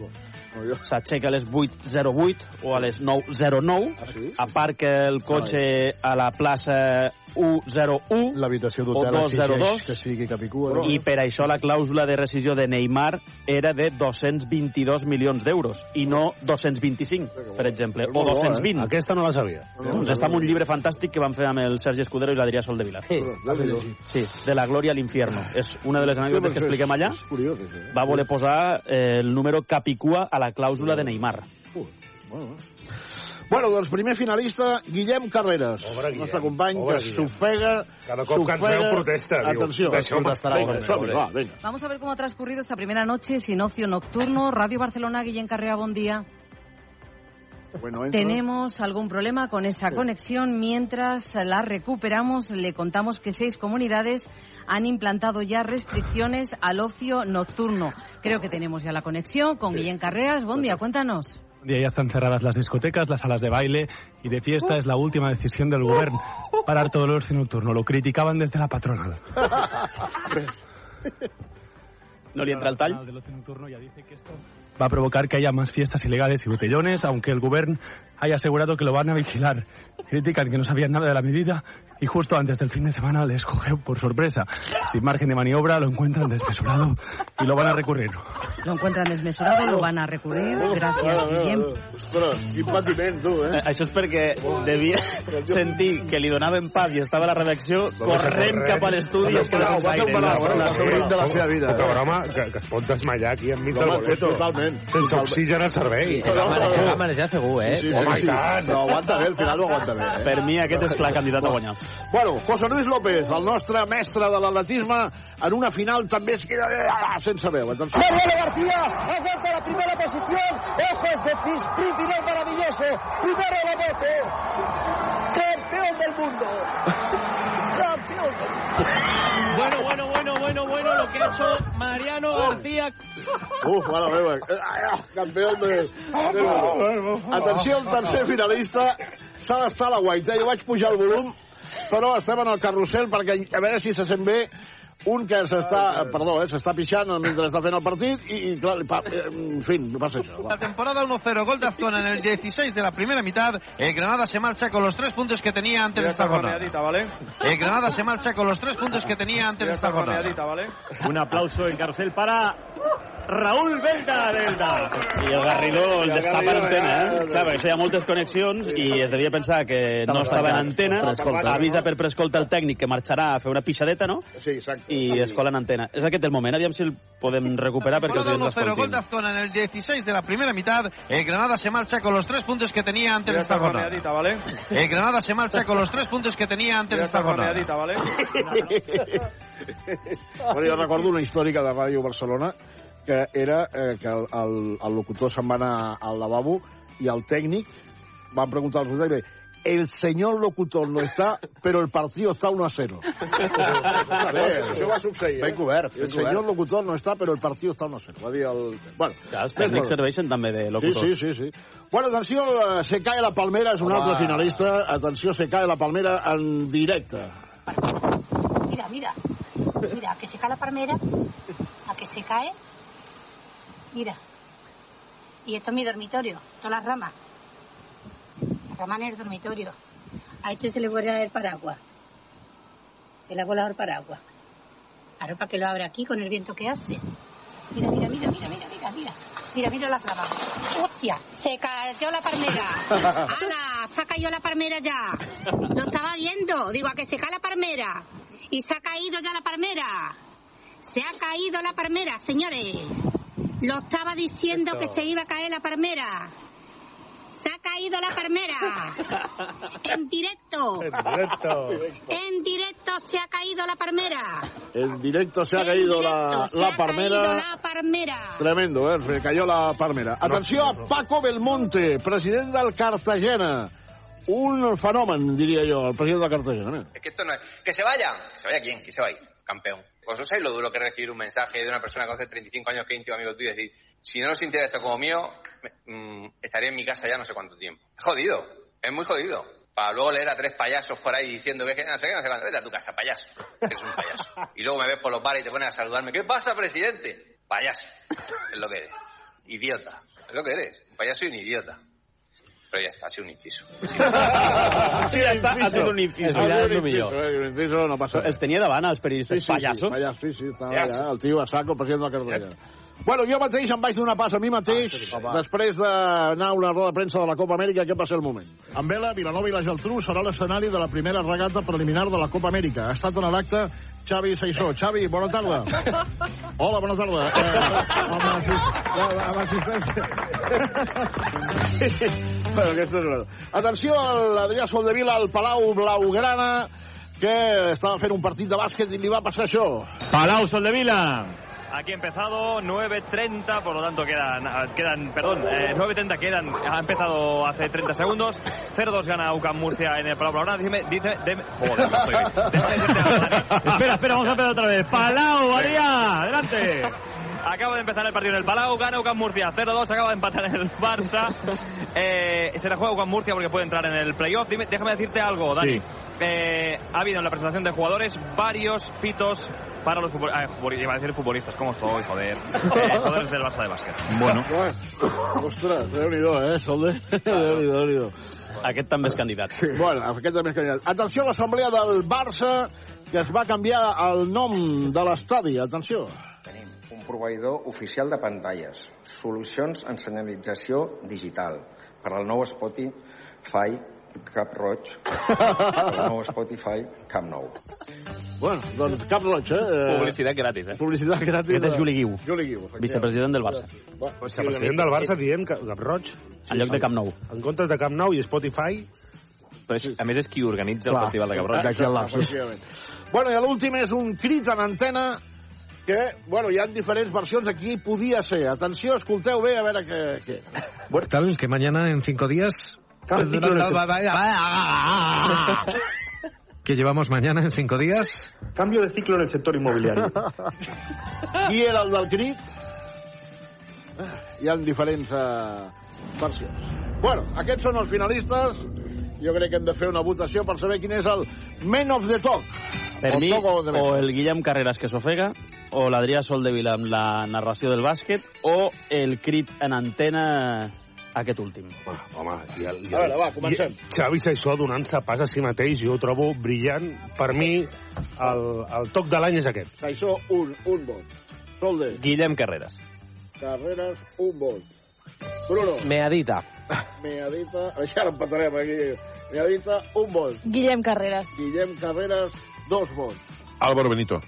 S1: S'aixeca a les 8.08 o a les
S4: Ah,
S1: 9.09, aparca el cotxe a la plaça 101
S2: L'habitació
S1: o
S2: d'hotel exigeix
S1: 202,
S2: que sigui Capicua. no?
S1: i per això la clàusula de rescisió de Neymar era de 222 milions d'euros i no 225, per exemple, o 220.
S2: Aquesta no la sabia.
S1: Doncs està en un llibre fantàstic que van fer amb el Sergi Escudero i l'Adrià Sol de Vila. Sí, sí de la glòria a l'infierno. És una de les anècdotes que expliquem allà.
S4: És curiós, això.
S1: Va voler posar eh, el número capicua a la clàusula de Neymar.
S4: Bueno, doncs primer finalista, Guillem Carreras. Pobre
S1: Guillem.
S4: Nostre company
S1: Pobre
S4: que
S1: Guillem.
S4: s'ofega...
S7: Cada cop que ens
S4: s'ofega.
S7: veu protesta, diu,
S4: Atenció.
S7: "Deixeu-me estar,
S4: Vinga,
S7: home,
S4: som-hi,
S7: pobre".
S4: va, vinga.
S30: Vamos a ver cómo ha transcurrido esta primera noche, Sinocio Nocturno, Radio Barcelona, Guillén Carrea, buen día.
S4: Bueno, entro.
S30: Tenemos algún problema con esa conexión. Mientras la recuperamos, le contamos que seis comunidades han implantado ya restricciones al ocio nocturno. Creo que tenemos ya la conexión con Guillén Carreas. Buen día, cuéntanos.
S20: día ya están cerradas las discotecas, las salas de baile y de fiesta. Es la última decisión del gobierno parar todo el ocio nocturno. Lo criticaban desde la patronal.
S1: No li entra el tall?
S20: Va a provocar que haya más fiestas ilegales y botellones, aunque el gobierno haya asegurado que lo van a vigilar. Critican que no sabían nada de la medida y justo antes del fin de semana les cogió por sorpresa. Sin margen de maniobra lo encuentran desmesurado y lo van a recurrir.
S30: Lo encuentran desmesurado, lo van a recurrir.
S4: Ah,
S30: Gracias, Guillem.
S4: Ostres, quin patiment, tu, eh?
S1: Això és perquè devia sentir que li donaven paf i estava a la redacció corrent cap a l'estudi i es quedava sense aire.
S7: La
S1: Sí.
S7: sovint de la seva vida. Poca broma, que, que es pot desmallar aquí enmig del
S1: Home,
S7: boleto.
S4: totalment.
S7: Sense oxigen al cervell.
S1: No, no, no.
S7: no.
S1: Va manejar segur, eh?
S4: Oh,
S7: Sí, sí, Home, sí, sí. i tant.
S4: No, aguanta bé, al final ho aguanta bé. Eh?
S1: Per mi aquest és clar candidat a guanyar.
S4: Bueno, José Luis López, el nostre mestre de l'atletisme, en una final també es queda ah, sense veu. Atenció.
S41: Manuel García aguanta la primera posición. Ojos de Fispri, final maravilloso. Primero la bote. Campeón del mundo. Campeón del mundo.
S14: Bueno, bueno, bueno, bueno, bueno, lo que ha hecho Mariano García.
S4: Uf, mare meva. Ah, ah, campió de... de... Atenció, el tercer finalista s'ha d'estar a la guaita. eh? Jo vaig pujar el volum, però estem en el carrusel perquè a veure si se sent bé un que s'està, eh, perdó, eh, s'està pixant mentre està fent el partit i, i clar, li pa, eh, en fi, no passa això.
S33: La temporada 1-0, gol de Azcona en el 16 de la primera mitad. El Granada se marcha con los tres puntos que tenía antes de esta jornada.
S10: ¿vale?
S33: El Granada se marcha con los tres puntos que tenía antes de esta jornada.
S10: ¿vale? Un aplauso en carcel para Raúl Belda Belda.
S1: I el Garrido el destapa en antena, eh? Clar, perquè això hi ha moltes connexions i es devia pensar que no estava en antena.
S4: Preescolta.
S1: Avisa per preescolta el tècnic que marxarà a fer una pixadeta, no?
S4: Sí, exacte.
S1: I es cola en antena. És aquest el moment. Aviam si el podem recuperar perquè els
S33: Temporada
S1: oients
S33: 1-0, gol de
S1: l'escoltin.
S33: Azcona en el 16 de la primera mitad. El Granada se marcha con los tres puntos que tenía antes de esta jornada.
S10: ¿vale?
S33: El Granada se marcha con los tres puntos que tenía antes de esta jornada.
S10: ¿vale?
S4: Bueno, jo recordo una històrica de Ràdio Barcelona que era eh, que el, el, el locutor se'n va anar al lavabo i el tècnic van preguntar al locutor i va dir el senyor locutor no està, però el partido està 1 a 0.
S11: Això va
S4: succeir.
S11: eh?
S4: Ben cobert.
S11: Ben
S4: El senyor
S11: cobert.
S4: locutor no està, però el partido està 1 a 0. Va dir el... Bueno,
S1: Clar, els tècnics serveixen també de locutors.
S4: Sí, sí, sí. sí. Bueno, atenció, eh, se cae la palmera, és un
S1: Home.
S4: altre finalista. Atenció, se cae la palmera en directe.
S24: Mira, mira. Mira, a que se cae la palmera, a que se cae. Mira. Y esto es mi dormitorio, todas las ramas. Las ramas en el dormitorio. A este se le voy a dar el paraguas. Se le ha volado el paraguas. Ahora para que lo abra aquí con el viento que hace. Mira, mira, mira, mira, mira, mira, mira.
S42: mira. Mira, mira la clava. ¡Hostia!
S3: Se cayó la palmera. ¡Hala! Se ha caído la palmera ya. No estaba viendo. Digo, a que se cae la palmera. Y se ha caído ya la palmera. Se ha caído la palmera, señores. Lo estaba diciendo que se iba a caer la palmera. Se ha caído la palmera. En directo. En directo se ha caído la palmera.
S4: En directo se ha caído la,
S3: Se
S4: la
S3: ha caído
S4: palmera.
S3: la palmera.
S4: Tremendo, eh? Se cayó la palmera. Atenció a Paco Belmonte, president del Cartagena. Un fenomen, diria jo, el president del Cartagena.
S10: Es que esto no es. ¡Que se vayan! ¿Que se vaya quién? ¿Que se vaya? Campeón. ¿Vosotros sabéis lo duro que es recibir un mensaje de una persona que hace 35 años que es íntimo amigo tuyo y decir, si no os interesa esto como mío, me- mm, estaré en mi casa ya no sé cuánto tiempo? Es jodido. Es muy jodido. Para luego leer a tres payasos por ahí diciendo que es que no sé qué, no sé cuánto. Vete a tu casa, payaso. Eres un payaso. Y luego me ves por los bares y te pones a saludarme. ¿Qué pasa, presidente? Payaso. Es lo que eres. Idiota. Es lo que eres. Un payaso y un idiota. Pero ya está, ha sido un inciso.
S1: Ah,
S18: Sí, ja està, ha fet un inciso.
S4: Ha fet un
S18: És millor.
S4: inciso, eh? Un inciso no passa res.
S18: Els tenia davant, els periodistes
S4: Sí, sí, sí,
S18: pallassos.
S4: pallasso, sí, sí, estava
S18: Pallasso.
S4: allà, el tio a saco, el president del Cartagena. Bueno, jo mateix em vaig donar pas a mi
S18: Ah,
S4: mateix després d'anar a una roda de premsa de la Copa Amèrica, que va ser el moment.
S24: Amb Vela, Vilanova i la Geltrú serà l'escenari de la primera regata preliminar de la Copa Amèrica. Ha estat en l'acte Xavi Saissó. Xavi, bona tarda. Hola, bona tarda. Eh, amb assist- eh, amb assistència.
S4: bueno, aquesta és una... Atenció a l'Adrià Soldevila al Palau Blaugrana, que estava fent un partit de bàsquet i li va passar això.
S1: Palau Soldevila. Aquí ha empezado 9.30, por lo tanto quedan, ah, quedan perdón, eh, 9.30 quedan, ha empezado hace 30 segundos. 0-2 gana UCAM Murcia en el Palau Blaugrana. Dime, dice, deme- joder, no estoy bien. Déjame decirte algo, Dani. Espera, espera, vamos a empezar otra vez. Palau, Adrià, adelante. Acaba de empezar el partido en el Palau, gana UCAM Murcia 0-2, acaba de empatar el Barça. Eh, se la juega UCAM Murcia porque puede entrar en el playoff. Dime- déjame decirte algo, Dani.
S43: Sí.
S1: Eh, ha habido en la presentación de jugadores varios pitos para los futbolistas. iba a decir futbolistas, ¿cómo estoy? Joder. Eh, jugadores del Barça de básquet.
S4: Bueno. Ostres, déu-n'hi-do, eh, Solde? Déu-n'hi-do, déu nhi déu
S18: Aquest també és candidat.
S4: Sí. Bueno, aquest també és candidat. Atenció a l'assemblea del Barça, que es va canviar el nom de l'estadi. Atenció.
S2: un proveïdor oficial de pantalles, solucions en senyalització digital per al nou Spotify Cap Roig, per al nou Spotify Cap Nou.
S4: Bueno, doncs cap roig, eh?
S1: Publicitat gratis, eh?
S4: Publicitat gratis.
S18: Aquest és Juli Guiu.
S4: Juli Guiu, efectivament.
S18: Vicepresident del Barça.
S4: Bueno,
S7: Vicepresident del
S4: Ah,
S7: Barça, diem que Cap Roig.
S18: En lloc de Camp Nou.
S7: En comptes de Camp Nou i Spotify...
S1: Però és, a més és qui organitza
S7: Clar.
S1: el Festival de Cabrons.
S7: D'aquí al lapsus.
S4: Efectivament. Bueno, i l'últim és un crit en antena que, bueno, hi ha diferents versions de qui podia ser. Atenció, escolteu bé a veure què... què.
S33: ¿Qué tal? Que mañana en cinco días. Ah, Que llevamos mañana en cinco días. Cambio de ciclo en el sector inmobiliario.
S4: Qui era el del crit? Ah, Hi ha diferents eh, versions. Bueno, aquests són els finalistes. Jo crec que hem de fer una votació per saber quin és el Man of the Talk.
S18: Per
S4: O
S18: mi,
S4: Talk of the Man.
S18: o el Guillem Carreras que s'ofega, o l'Adrià Soldevila amb la narració del bàsquet, o el crit en antena aquest últim.
S7: Home, i el,
S4: A veure, va, comencem.
S7: I Xavi Saissó donant-se pas a si mateix, jo ho trobo brillant. Per mi, el, el toc de l'any és aquest.
S4: Això, un, un vot. Solde,
S7: Guillem Carreras.
S4: Carreras, un vot. Bruno.
S44: Meadita.
S4: Meadita, això ara empatarem aquí. Meadita, un vot.
S16: Guillem Carreras.
S4: Guillem Carreras, dos vots.
S6: Álvaro Benito.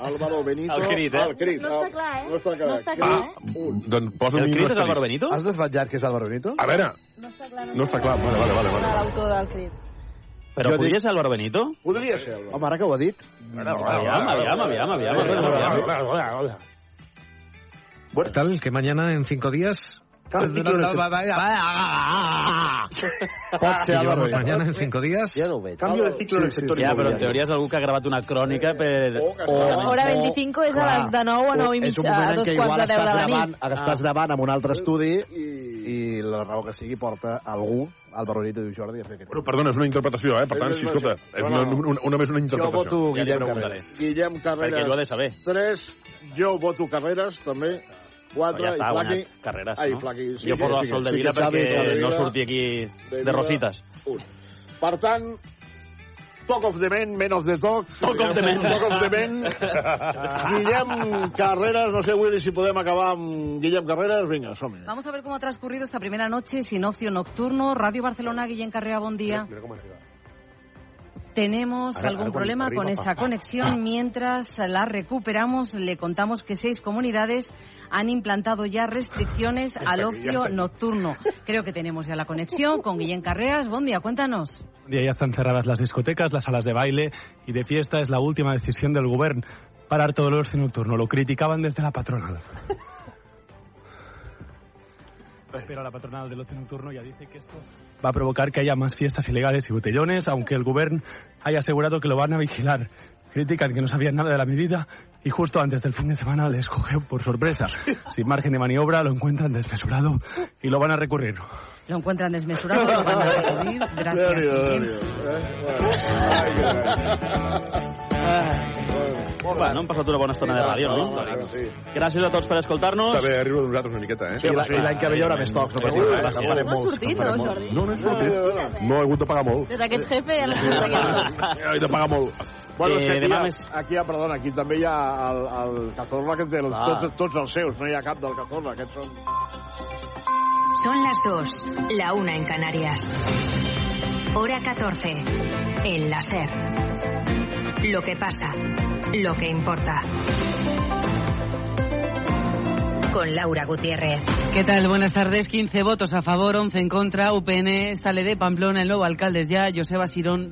S4: Álvaro Benito.
S6: El crit, eh?
S4: El crit.
S16: No està clar, eh?
S4: No està clar.
S16: No està clar, eh?
S6: Doncs posa'm un asterisc.
S24: Has desvetllat que és Álvaro Benito?
S7: Ah,
S6: A veure,
S16: No està clar.
S6: no està clar. Vale, vale, vale. vale.
S16: L'autor del crit.
S18: Però podria ser Álvaro Benito?
S4: Podria ser.
S24: Home, ara que ho ha dit...
S18: Aviam, aviam, aviam, aviam, aviam, aviam.
S33: ¿Qué tal? Que mañana en cinco días. Ah, Que llevamos mañana en cinco días.
S44: Cambio de ciclo en el sector
S18: Ja, però en
S33: inmobiliari.
S18: teoria és algú que ha gravat una crònica per...
S16: Hora 25 és a les de 9 a 9 i
S24: És un
S16: mitja,
S24: moment
S1: eh,
S16: a
S24: en
S16: dos
S24: què
S16: quarts
S24: igual
S16: de 10 de
S24: estàs
S16: la
S24: davant,
S16: nit.
S24: ara
S1: Ah.
S24: estàs davant amb un altre estudi i la raó que sigui porta algú, Álvaro Benito diu Jordi, a fer aquest...
S6: Bueno, perdona, és una interpretació, eh? Per tant, sí, escolta, és una, una, una, més una interpretació.
S24: Jo voto Guillem Carreras.
S4: Guillem Carreras.
S18: Perquè ho ha de saber.
S4: 3, jo voto Carreras, també. 4,
S18: Ja està, ha
S4: i Flaqui.
S18: guanyat Carreras,
S4: Ai,
S18: no?
S4: Flaqui. Sí,
S18: Jo porto
S4: sí,
S18: la
S4: sí,
S18: Sol de
S4: sí,
S18: Vila
S4: Xavi,
S18: perquè
S4: Soldevila,
S18: no surti aquí
S4: de
S18: de
S4: Vila.
S18: rosites.
S4: Per tant, Talk of the Men, Men of the Talk.
S1: Talk of the Men.
S4: Talk of the Men. Guillem Carreras, no sé, Willy, si podem acabar amb Guillem Carreras. Vinga, som -hi.
S30: Vamos a ver cómo ha transcurrido esta primera noche sin ocio nocturno. Radio Barcelona, Guillén Carrea, buen día. Tenemos
S5: Ahora-
S30: algún
S5: ahora
S30: problema
S5: arriba,
S30: con
S5: pa.
S30: esa conexión. Mientras la recuperamos, le contamos que seis comunidades han implantado ya restricciones al
S20: Ya
S30: ocio
S20: está ahí.
S30: nocturno. Creo que tenemos ya la conexión con Guillén Carreas. Buen día, cuéntanos.
S20: día ya están cerradas las discotecas, las salas de baile y de fiesta es la última decisión del gobierno. Parar todo el ocio nocturno. Lo criticaban desde la patronal. Pero la patronal del ocio nocturno ya dice que esto... Va a provocar que haya más fiestas ilegales y botellones, aunque el gobierno haya asegurado que lo van a vigilar. Critican que no sabían nada de la medida y justo antes del fin de semana les cogió por sorpresa. Sin margen de maniobra, lo encuentran desmesurado y lo van a recurrir.
S30: Lo encuentran desmesurado. lo van a recurrir. Gracias. Guillem.
S1: Ah, Bueno, hem passat una bona estona de ràdio, no? Gràcies a tots per escoltar-nos.
S6: Està bé riure de nosaltres una miqueta, eh?
S1: Sí, home, sí. Sí, sí, sí.
S6: farem
S45: No ha sortit, no, Jordi?
S6: No, no he sortit. No he hagut de pagar molt.
S45: Des d'aquest jefe ja no surt d'aquest cos.
S4: He de pagar molt. Bueno, és
S6: Eh,
S4: que aquí,
S6: demà
S4: hi ha,
S6: més.
S4: aquí hi ha, perdona, aquí també hi ha el, el Cazorla que té el,
S9: Ah.
S4: tots, tots els seus, no hi ha cap del Cazorla, aquests són...
S9: Son las 2, la 1 en Canarias. Hora 14, el láser. Lo que pasa, lo que importa. Con Laura Gutiérrez.
S16: ¿Qué tal? Buenas tardes. 15 votos a favor, 11 en contra. UPN sale de Pamplona el nuevo alcalde es ya, Joseba Sirón.